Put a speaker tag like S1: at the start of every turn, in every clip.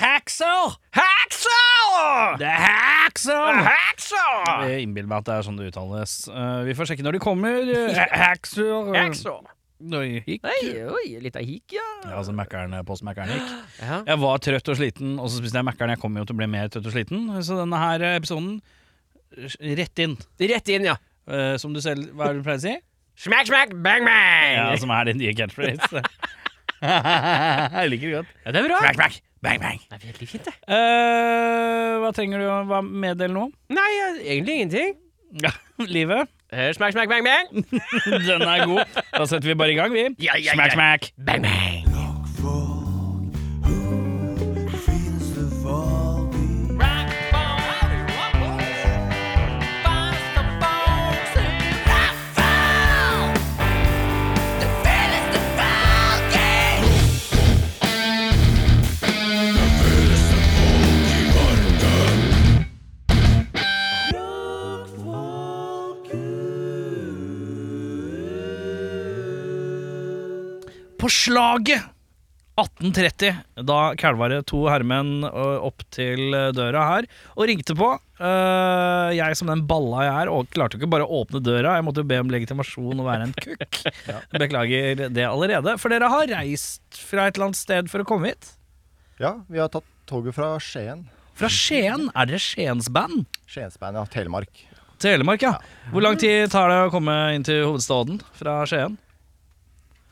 S1: Hacksaw!
S2: Hacksaw!
S1: Det er Hacksaw!
S2: Hacksaw!
S1: Jeg innbiller meg at det er sånn det uttales. Eh, vi får sjekke når de kommer. Eh, Hacksaw.
S2: Hacksaw.
S1: Oi, hikk.
S2: Nei, oi, litt av hikk, ja.
S1: Ja, altså Mækkern- postmækkern gikk.
S2: Ja.
S1: Jeg var trøtt og sliten, og så spiste jeg Mækkern. Jeg kommer jo til å bli mer trøtt og sliten, så denne her episoden eh, rett inn.
S2: Rett inn, ja.
S1: Eh, som du selv Hva er det du pleier å si?
S2: Smack, smack, bang, bang!
S1: Ja, som er din nye catchphrase. jeg liker det godt.
S2: Ja, det er bra.
S1: Smack, smack, bang, bang.
S2: Det er veldig fint, det.
S1: Eh, hva trenger du å hva- meddele nå?
S2: Nei, ja, egentlig ingenting.
S1: Ja, livet.
S2: Eh, Smack, smack, bang, bang.
S1: Den er god. Da setter vi bare i gang, vi.
S2: Ja, ja,
S1: smack,
S2: ja.
S1: smack.
S2: Bang, bang.
S1: På slaget 1830, da kælva det to herremenn ø, opp til ø, døra her og ringte på. Eh, jeg som den balla jeg er, og klarte jo ikke bare å åpne døra. Jeg måtte jo be om legitimasjon og være en kukk. Beklager det allerede. For dere har reist fra et eller annet sted for å komme hit.
S3: Ja, vi har tatt toget fra Skien.
S1: Fra Skien. Er dere Skiens band?
S3: Skiensbandet, ja. Telemark.
S1: Telemark, ja. Hvor lang tid tar det å komme inn til hovedstaden fra Skien?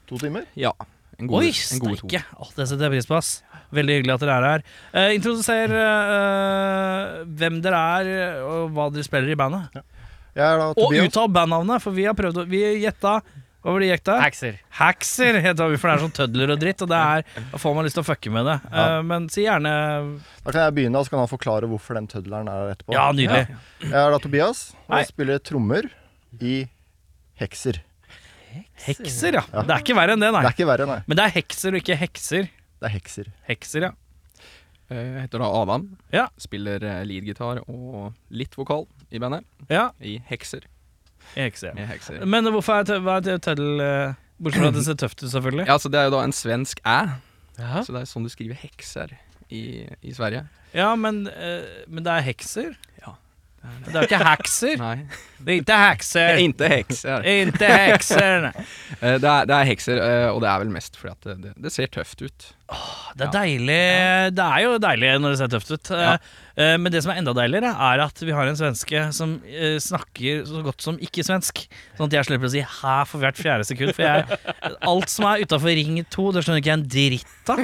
S3: To timer.
S4: Ja. En
S1: Oi,
S4: en god to.
S1: steike! Å, det setter jeg pris på. ass Veldig hyggelig at dere er her. Eh, introduser eh, hvem dere er, og hva dere spiller i bandet.
S3: Jeg er da
S1: Og
S3: Tobias.
S1: uttal bandnavnet, for vi har prøvd å Vi gjetta Hva var det gjetta?
S2: Hekser.
S1: Haxer heter vi, for det er sånn tødler og dritt, og det er Da får man lyst til å fucke med det. Eh,
S3: Ja.
S1: men si gjerne
S3: Da kan jeg begynne, og så kan han forklare hvorfor den tøddelen er der etterpå.
S1: Ja, nydelig.
S3: Jeg er da Tobias, og
S1: Hei.
S3: jeg spiller trommer i Hekser.
S1: Hekser, ja.
S3: Ja.
S1: Det er ikke verre enn det,
S3: Det
S1: nei.
S3: er ikke verre, nei.
S1: Men det er hekser og ikke hekser.
S3: Det er Hekser.
S1: Hekser, ja.
S4: Eh, Jeg heter da Adam.
S1: Ja.
S4: Spiller eh, leadgitar og litt vokal i bandet.
S1: Ja,
S4: I Hekser.
S1: hekser. ja.
S4: I hekser.
S1: Men hvorfor er, tø- hva er tø- tøddel eh, Bortsett fra at det ser tøft ut, selvfølgelig.
S4: Ja, så Det er jo da en svensk æ,
S2: Ja.
S4: så det er sånn du skriver hekser i, i Sverige.
S1: Ja, men, eh, men det er hekser.
S4: Ja.
S1: Det er jo ikke hekser. Eh.
S4: Nei,
S1: Det er ikke hekser.
S4: ikke hekser.
S1: Ikke hekser.
S4: Eh, Det er, det er hekser, eh, og det er vel mest fordi at det, det, det ser tøft ut.
S1: Det er deilig. Det er jo deilig når det ser tøft ut. Eh, eh, Men det som er enda deiligere, er at vi har en svenske som eh, snakker så godt som ikke-svensk. Sånn at jeg slipper å si 'hæ' for hvert fjerde sekund. For jeg, alt som er utafor ring 2, det skjønner ikke jeg en dritt av.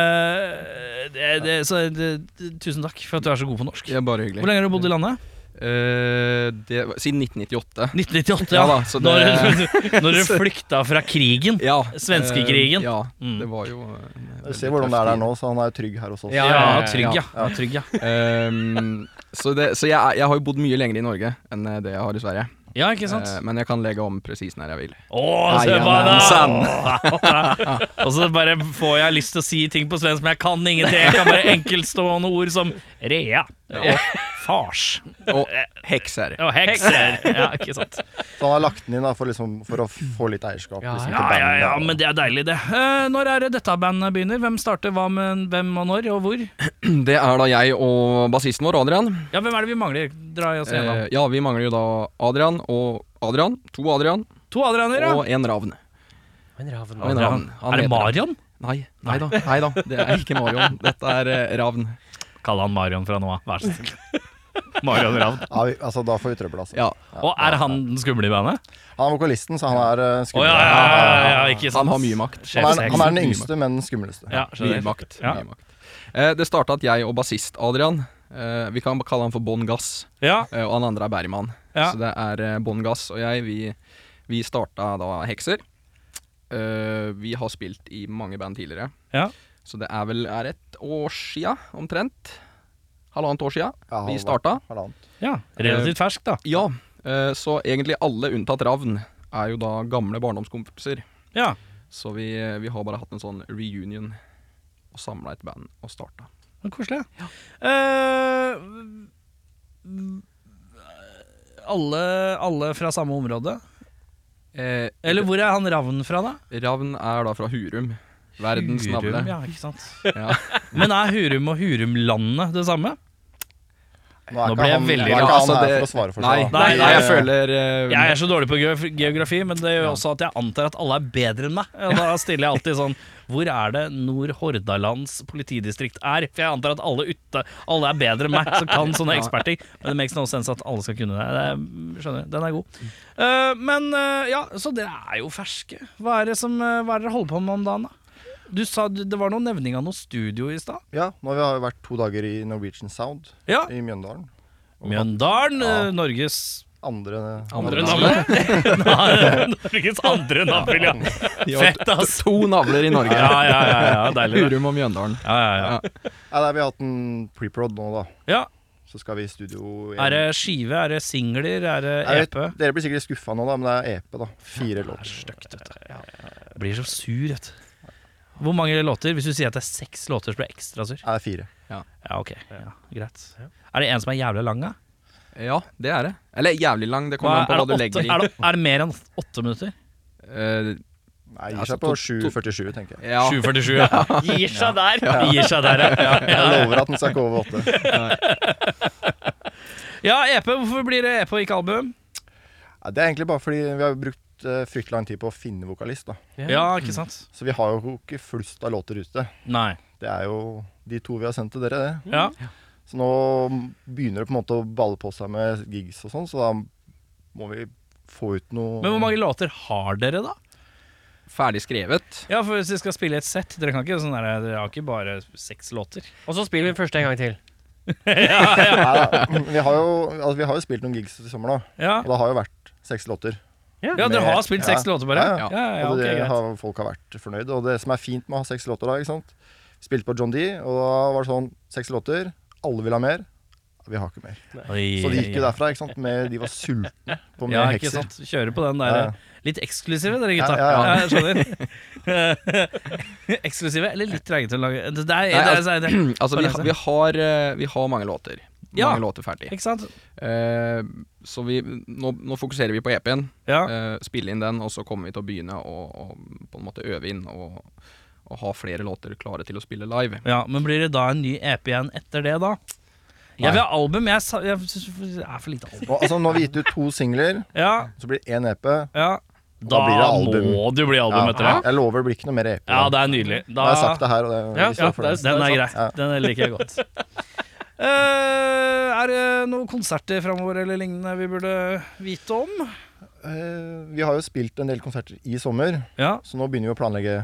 S1: Eh, det, det, så det, det- tusen takk for at du er så god på norsk.
S4: Det er bare
S1: Hvor
S4: hyggelig.
S1: lenge har du bodd i landet?
S4: Eh, det, var- siden 1998.
S1: 1998,
S4: Ja da, så det-
S1: Når, når du flykta fra krigen.
S4: Ja.
S1: Svenskekrigen.
S4: eh, Ja,
S1: Mm.
S4: det var jo eh,
S3: Du ser hvordan det er der nå, så han er jo trygg her hos oss.
S2: Ja.
S1: Ja, trygg, ja.
S4: ja.
S1: ja, trygg, ja.
S4: Ehm, så det, så jeg, er- jeg har jo bodd mye lenger i Norge enn eh, det jeg har i Sverige.
S1: ja ikke sant?
S4: Eh, men jeg kan legge om presis når jeg vil.
S1: Å, se
S4: ja,
S1: på
S4: men
S1: da! Og så bare får jeg lyst til å si ting på svensk, men jeg kan ingenting. Jeg kan bare enkeltstående ord som rea og fars
S4: Og
S1: Eh,
S4: hekser.
S1: og hekser. Ja, ikke sant?
S3: Så han har lagt den inn da, for, liksom, for å få litt eierskap.
S2: Ja,
S3: liksom,
S1: Ja, ja,
S3: til bandet.
S1: ja, men det er deilig, det. Eh, når er det dette bandet begynner? Hvem starter hva med hvem og når, og hvor?
S4: Det er da jeg og bassisten vår, Adrian.
S1: Ja, hvem er det vi mangler? Dra oss gjennom.
S4: Eh, ja, vi mangler jo da Adrian og Adrian. To Adrian
S1: To Adrianer, ja.
S4: og en ravn.
S2: En ravn.
S4: Og en ravn. Han
S1: Er det
S4: heter-
S1: Marion?
S4: Nei, nei da. Nei da. Det er ikke Marion. Dette er eh, ravn.
S1: Kall han Marion fra nå av, vær så snill. Marion Ravn.
S3: Ja, vi, altså, da får vi trøbbel, altså.
S4: Ja.
S1: Og er han den skumle i bandet?
S3: Han er vokalisten, så han er eh,
S1: Å ja,
S3: skummel.
S1: ja, ja, ja, ikke sant.
S4: Han har mye makt.
S1: Sjef.
S3: Han, er, han er den
S4: Mye
S3: yngste, men den skumleste.
S1: Ja,
S4: Mye
S1: skjønner.
S4: makt.
S1: Ja.
S4: Mye makt. Eh, det starta at jeg og bassist Adrian eh, Vi kan kalle han for Bon Gass,
S1: Ja,
S4: eh, og han andre er Bergman.
S1: ja.
S4: Så det er eh, Bon Gass og jeg, vi, vi starta da Hekser. Eh, vi har spilt i mange band tidligere.
S1: Ja.
S4: Så det er vel er et år sia, omtrent. Halvannet år sia
S3: Ja,
S4: vi
S3: halva-
S4: starta.
S3: halvannet.
S1: ja. Relativt fersk, da.
S4: Ja, eh, så egentlig alle unntatt Ravn er jo da gamle barndomskompiser.
S1: Ja.
S4: Så vi, vi har bare hatt en sånn reunion og samla et band og starta.
S1: Men Koselig. Ja. Eh, alle, alle fra samme område?
S4: Eh,
S1: Eller hvor er han Ravn fra, da?
S4: Ravn er da fra Hurum. Verdens navle.
S1: ja, ikke sant?
S4: Ja.
S1: Men er Hurum og Hurumlandet det samme?
S3: er
S1: Nå
S3: ikke
S1: ble jeg
S3: han-
S1: veldig
S3: Nå er
S1: rart.
S3: ikke han
S4: Altså,
S3: her
S4: det-
S3: for å svare for
S4: Nei,
S3: seg. da.
S4: nei,
S1: Nei,
S4: nei, jeg
S3: eh,
S4: føler eh,
S1: Jeg er så dårlig på geografi- geografi, men det gjør jo også at jeg antar at alle er bedre enn meg. Og da stiller jeg alltid sånn Hvor er det Nord-Hordalands politidistrikt er? For jeg antar at alle ute Alle er bedre enn meg, som kan sånne eksperting. Men det makes no sense at alle skal kunne det. det skjønner. Den er god. Eh, men eh, ja, så dere er jo ferske. Hva er det som eh, Hva er det dere holder på med om dagen, da? Du sa du- det var noen nevning av noe studio i stad.
S3: Ja, nå har vi vært to dager i Norwegian Sound
S1: Ja.
S3: i Mjøndalen.
S1: Mjøndalen,
S3: Ja.
S1: eh, Norges
S3: Andre,
S4: Andre
S1: navle? Norges andre navle, ja.
S4: de har
S1: Fett, ass.
S4: to navler i Norge.
S1: Ja, ja, ja, ja, deilig. det.
S4: Hurum og Mjøndalen.
S1: Ja, ja, ja.
S3: Nei, nei, vi har hatt en preprod nå, da.
S1: ja.
S3: Så skal vi i studio igjen.
S1: Er det skive, er det singler, er det E
S3: Jeg vet-
S1: EP?
S3: Dere blir sikkert skuffa nå, da, men det er EP, da. Fire låter.
S1: Stygt, vet du. Jeg blir så sur, vet du. Hvor mange låter? Hvis du sier at det er seks låter, så blir jeg ekstra sur.
S3: Nei, det er fire.
S1: Ja, ok. Ja, greit. Er det en som er jævlig lang, da?
S4: Ja, det er det. Eller jævlig lang, det
S1: Hva-
S4: kommer an på
S1: er,
S4: hva du
S1: det åtte,
S4: legger
S1: er,
S4: i.
S1: det, er det mer enn åtte minutter?
S4: Eh,
S3: Nei, gir
S4: Altså,
S3: seg
S4: to-
S3: på 7.47, tenker jeg.
S4: Eh, ja.
S1: 7.47, ja.
S2: Gir seg der.
S1: Gir seg der, ja. ja.
S3: Jeg lover at den skal ikke over åtte.
S1: Ja, EP. Hvorfor blir det EP og ikke album?
S3: Nei, Det er egentlig bare fordi vi har brukt eh, fryktelig lang tid på å finne vokalist, da.
S1: Ja, ikke sant?
S3: Så vi har jo ikke flust av låter ute.
S1: Nei.
S3: Det er jo de to vi har sendt til dere, det.
S1: Ja.
S3: Så nå begynner det på en måte å balle på seg med gigs og sånn, så da må vi få ut noe
S1: Men hvor mange låter har dere, da?
S4: Ferdig skrevet.
S1: Ja, for Hvis dere skal spille et sett Dere kan ikke sånn der, dere har ikke bare seks låter.
S2: Og så spiller vi den første en gang til.
S3: Nei, da, vi, har jo, altså, vi har jo spilt noen gigs i sommer, da.
S1: Ja,
S3: Og det har jo vært seks låter.
S1: ja Dere har spilt seks
S3: Ja.
S1: låter, bare?
S3: Ja,
S4: ja.
S1: ja, ja
S3: og
S1: ok,
S3: det
S1: greit.
S3: har, folk har vært fornøyd. Og det som er fint med å ha seks låter da, ikke sant Spilte på John D, og da var det sånn Seks låter, alle vil ha mer. Vi har ikke mer. Så de gikk jo derfra, ikke sant. Med, de var sultne på mer
S1: Ja, ikke
S3: hekser.
S1: sant. Kjører på den
S3: Ja,
S1: der eh,
S3: ja.
S1: litt eksklusive, dere gutta. Ja,
S3: Ja, ja,
S1: jeg skjønner. eksklusive eller litt treigete å lage Det er, det er, det er, det er.
S4: Altså, vi, ha- vi, har, eh, vi har mange låter. Mange
S1: Ja.
S4: låter ferdig.
S1: Ikke sant?
S4: Eh, så vi, nå, nå fokuserer vi på EP-en.
S1: Ja.
S4: Eh, spille inn den, og så kommer vi til å begynne å, å på en måte øve inn og, og ha flere låter klare til å spille live.
S1: ja, Men blir det da en ny EP igjen etter det, da? Jeg vil ha album. Jeg, sa- jeg synes det er for lite album.
S3: Og, altså, nå har vi gitt ut to singler,
S1: Ja,
S3: så blir det E én EP.
S1: ja.
S3: Da blir det album.
S1: må det jo bli album etter det.
S3: Jeg lover det blir ikke noe mer E EP.
S1: Ja,
S3: da.
S1: det er nydelig.
S3: Nå har jeg sagt det her, og det,
S2: Ja,
S3: vi
S1: Ja,
S3: står for det.
S1: den er grei.
S3: Ja.
S1: Den liker jeg godt. Eh, er det noen konserter framover eller lignende vi burde vite om?
S3: Eh, vi har jo spilt en del konserter i sommer,
S1: Ja,
S3: så nå begynner vi å planlegge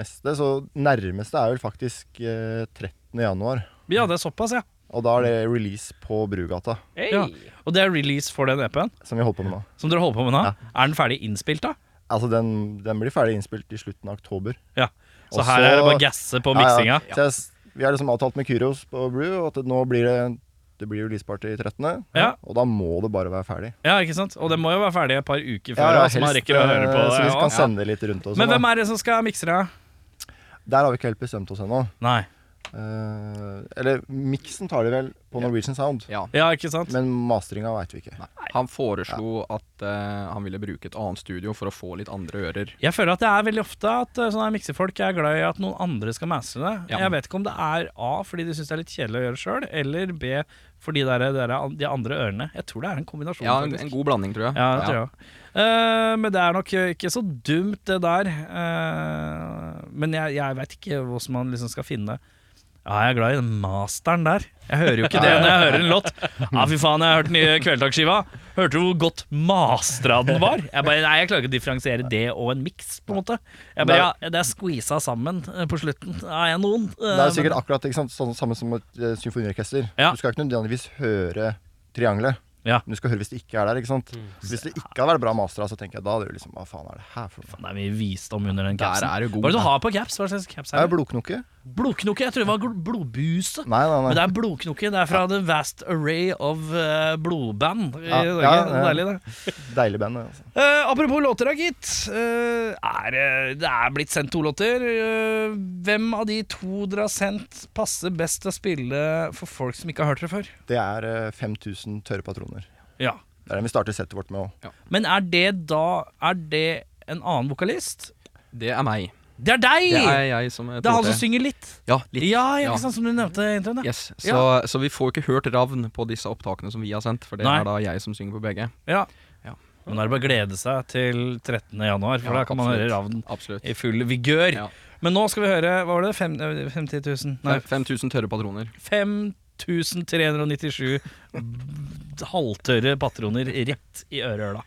S3: neste. Så nærmeste er vel faktisk eh, 13. januar.
S1: vi hadde såpass, ja.
S3: Og da er det release på Brugata,
S2: Hey.
S1: Ja. Og det er release for den EP-en
S3: som vi holder på med nå.
S1: som dere holder på med nå. Er den ferdig innspilt, da?
S3: Altså, den, den blir ferdig innspilt i slutten av oktober.
S1: Ja. Så
S3: Og
S1: her
S3: så-
S1: er det bare å gasse på miksinga.
S3: Ja, ja. Så jeg, s- vi har liksom avtalt med Kyros på Brew og at det, nå blir det det blir releaseparty 13.,
S1: Ja.
S3: og da må det bare være ferdig.
S1: Ja, ikke sant? Og den må jo være ferdig et par uker før,
S3: Ja, ja,
S1: så man
S3: helst,
S1: rekker å høre på
S3: eh, Så
S1: det.
S3: vi kan
S1: også.
S3: sende litt rundt oss.
S1: Men hvem er det som skal mikse det?
S3: Der har vi ikke helt bestemt oss ennå.
S1: Nei.
S3: Eh, eller miksen tar de vel på Norwegian Sound,
S4: Ja.
S1: Ja, ikke sant?
S3: men mastringa veit vi ikke.
S4: Han foreslo at eh, han ville bruke et annet studio for å få litt andre ører.
S1: Jeg føler at det er veldig ofte at eh, sånne her miksefolk er glad i at noen andre skal masse det.
S4: Ja.
S1: Jeg vet ikke om det er A fordi de syns det er litt kjedelig å gjøre sjøl, eller B fordi det er, det er an- de andre ørene. Jeg tror det er en kombinasjon.
S4: Ja, en,
S1: faktisk.
S4: en god blanding, tror jeg.
S1: ja, det tror jeg. også. Eh, men det er nok eh, ikke så dumt, det der. Eh, men jeg, jeg veit ikke hvordan man liksom skal finne Ja, jeg er glad i den masteren der. Jeg hører jo ikke det når jeg hører en låt. Ja, fy faen, jeg har hørt den nye Kveldtaksskiva. Hørte du hvor godt mastra den var? Jeg bare, nei, jeg klarer ikke å differensiere det og en miks, på en måte. Jeg bare, ja, det er squeeza sammen eh, på slutten. Er jeg noen? Eh,
S3: Det er jo sikkert akkurat ikke sant, sånn samme som et eh, symfoniorkester.
S1: Ja.
S3: Du skal ikke nødvendigvis høre triangelet.
S1: Ja.
S3: Men du skal høre hvis det ikke er der. ikke sant? Så Hvis det ikke hadde vært bra mastra, så tenker jeg da hadde du liksom Hva faen er det her for noe?
S1: men Det er mye visdom under den
S4: Der
S1: capsen.
S4: er du
S1: Hva
S4: god.
S1: er det du har på caps? Hva slags caps
S3: Er
S1: er
S3: det
S1: det?
S3: blodknoke?
S1: Blodknoke? Jeg tror det var gl- blodbuse.
S3: Nei, nei,
S1: Men
S3: nei.
S1: det er blodknoke. Det er fra The Vast Array of eh, Blodband i
S3: Ja,
S1: Norge.
S3: ja, ja.
S1: Deilig, det.
S3: Deilig band. det, Altså.
S1: Eh, apropos låter, da, gitt. Eh, er, eh, det er blitt sendt to låter. Eh, hvem av de to dere har sendt, passer best til å spille for folk som ikke har hørt det før?
S3: Det er eh, 5000 tørre patroner.
S1: Ja.
S3: Det er den vi starter settet vårt med òg.
S1: Men er det da Er det en annen vokalist?
S4: Det er meg.
S5: Det er deg!
S4: Det
S5: Det
S4: er
S5: er,
S4: jeg som er
S5: han
S4: Tore.
S5: som synger litt.
S4: Ja, litt.
S5: Ja, ja,
S4: Ja.
S5: ikke sant, som du nevnte i introen. Ja.
S4: Yes. Så, så vi får jo ikke hørt ravn på disse opptakene som vi har sendt, for det
S5: Nei.
S4: er da jeg som synger på begge.
S5: Ja.
S4: Ja.
S5: Men da er det bare å glede seg til 13. januar, for
S4: Ja,
S5: da kan man
S4: absolutt.
S5: høre ravnen
S4: Absolutt.
S5: i full vigør.
S4: Ja.
S5: Men nå skal vi høre Hva var det? Fem, eh, 50 000? Nei,
S4: 5000 tørre patroner.
S5: 5397 halvtørre patroner rett i ørehøla.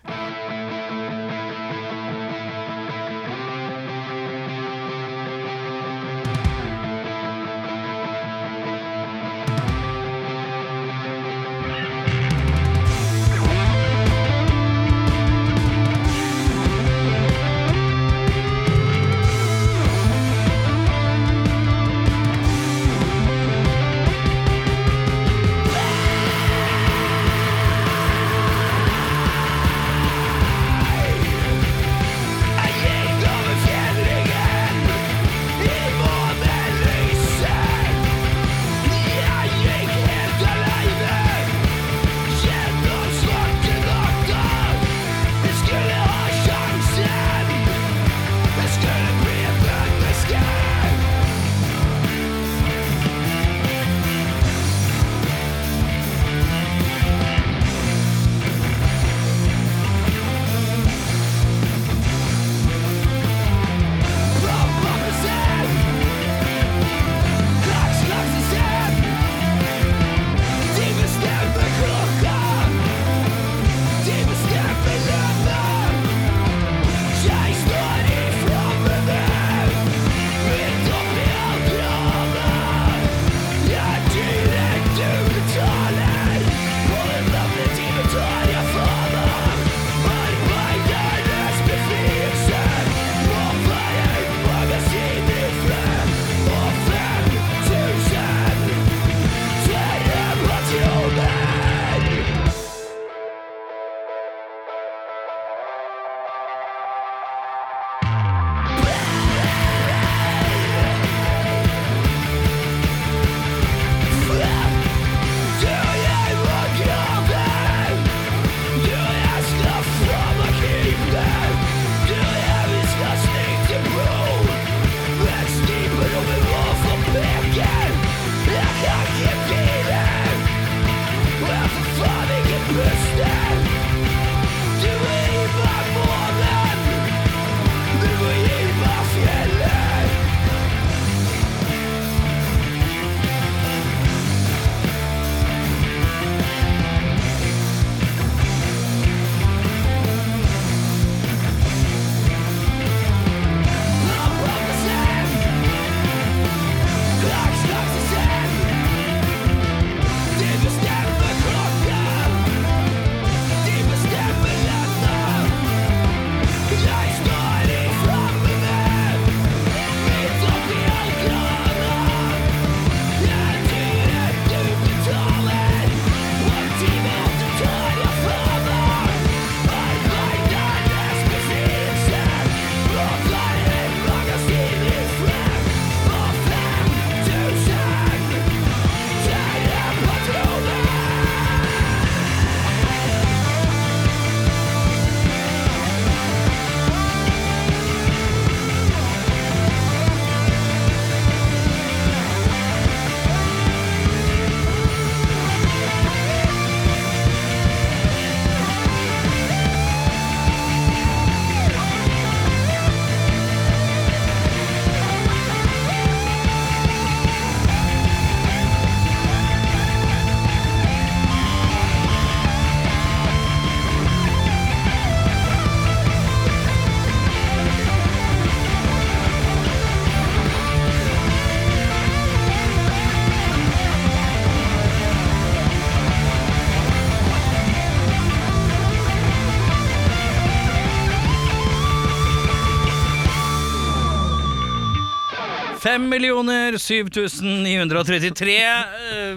S5: Fem millioner 7933 eh,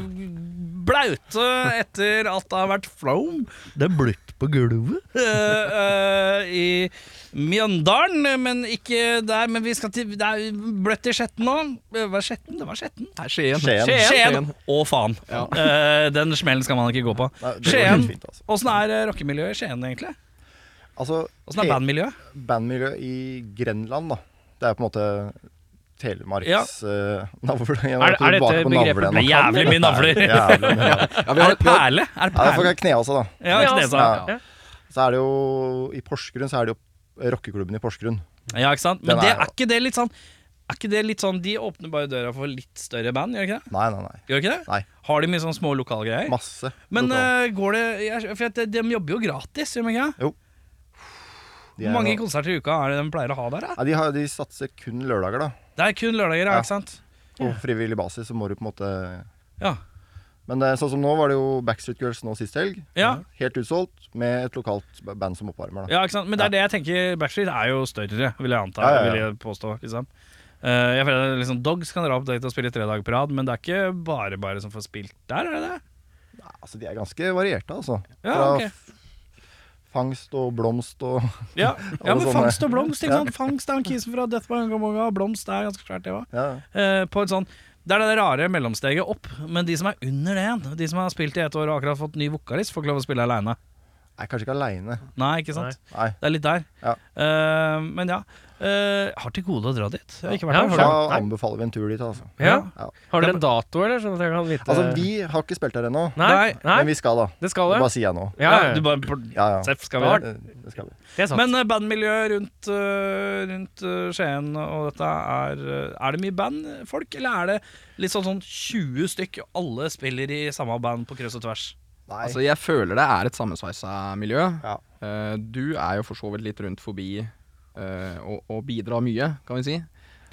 S5: blaute etter at det har vært flaum. Det er bløtt på gulvet. eh, I Mjøndalen, men ikke der. Men vi skal til Det er bløtt i Skjetten nå. Eh, Hva er Skjetten? Det var Skjetten.
S4: Det er Skien.
S3: Skien.
S5: Skien.
S4: Skien.
S5: Å, faen.
S4: Ja.
S5: Eh, den smellen skal man ikke gå på.
S3: Nei, det går
S5: Skien.
S3: helt fint, altså.
S5: Åssen er eh, rockemiljøet i Skien, egentlig?
S3: Altså,
S5: Åssen er
S3: he-
S5: bandmiljøet?
S3: bandmiljøet i Grenland, da. Det er jo på en måte Telemarks
S1: Ja.
S3: eh, navle. Jeg
S2: Er- er
S3: var
S2: dette
S3: tilbake på
S2: begrepet
S3: navlen.
S1: Det er jævlig mye navler.
S3: Jævlig mye navler.
S4: Ja, vi
S1: Er
S4: har,
S1: det perle? Er det
S3: Ja, folk
S1: perle?
S3: kan kne av seg, da.
S1: Ja, knesa.
S3: Ja. Så er det jo I Porsgrunn så er det jo rockeklubben i Porsgrunn.
S1: Ja, ikke sant? Men
S3: Den
S1: det,
S3: er-
S1: er ikke det litt sånn Er ikke det litt sånn De åpner bare døra for litt større band, gjør de ikke det?
S3: Nei, nei, nei.
S1: Gjør de ikke det?
S3: Nei.
S1: Har de mye sånn små lokalgreier?
S3: Masse.
S1: Men
S3: lokal.
S1: eh, går det jeg, For at eh, de, de jobber jo gratis, gjør de ikke det?
S3: De er
S1: Hvor mange
S3: jo-
S1: konserter i uka er det de pleier å ha der? Da?
S3: Nei, de, har, de satser kun lørdager, da.
S1: Det er kun lørdager, ja,
S3: Ja.
S1: ikke sant?
S3: På frivillig basis så må du på en måte
S1: Ja.
S3: Men eh, sånn som nå var det jo Backstreet Girls nå sist helg.
S1: Ja.
S3: Helt utsolgt med et lokalt b- band som oppvarmer, da.
S1: Ja, ikke sant? Men det er det jeg tenker. Backstreet er jo større, vil jeg anta.
S3: Ja, ja, ja.
S1: Vil jeg påstå, liksom. Eh, jeg føler at liksom, Dogs kan dra opp dit og spille tre dager på rad, men det er ikke bare bare som får spilt der, er det det?
S3: Altså, de er ganske varierte, altså.
S1: Ja,
S3: Fra
S1: ok.
S3: f- fangst og blomst og
S1: Ja, ja men
S3: sånne.
S1: Fangst og Blomst, ikke
S3: Ja.
S1: sant? Fangst er han kisen fra Death by Ungamonga, Blomst er ganske svært, det òg.
S3: ja.
S1: på et sånn det er det der rare mellomsteget opp, men de som er under det igjen, de som har spilt i ett år og akkurat fått ny vokalist, får ikke lov å spille aleine.
S3: Jeg er kanskje ikke aleine.
S1: Nei, ikke sant?
S3: Nei.
S1: Det er litt der.
S3: Ja.
S1: Eh, men ja. Eh, har til gode å dra dit. Jeg har ikke vært
S2: Ja,
S1: der.
S3: Da
S1: Har du?
S2: Nei.
S3: anbefaler vi en tur dit, altså.
S2: Ja.
S3: Ja.
S2: Har dere en dato, eller? Sånn at jeg kan vite
S3: Altså, vi har ikke spilt der ennå,
S2: Nei,
S1: Nei.
S2: nei,
S3: men vi skal da.
S2: det skal
S3: Det
S2: dere.
S3: bare sier jeg nå.
S2: Ja,
S1: Ja, du
S2: ja.
S1: bare
S3: Ja, ja.
S1: Seff skal vi ha.
S3: Det, det skal vi.
S2: det er sant.
S1: Men eh, bandmiljøet rundt, eh, rundt eh, Skien og dette, er, eh, er det mye bandfolk? Eller er det litt sånn, sånn 20 stykk, og alle spiller i samme band på kryss og tvers?
S3: Nei.
S4: altså, jeg føler det er et sammensveisa miljø.
S3: Ja.
S4: Eh, du er jo for så vidt litt rundt forbi eh, og, og bidrar mye, kan vi si.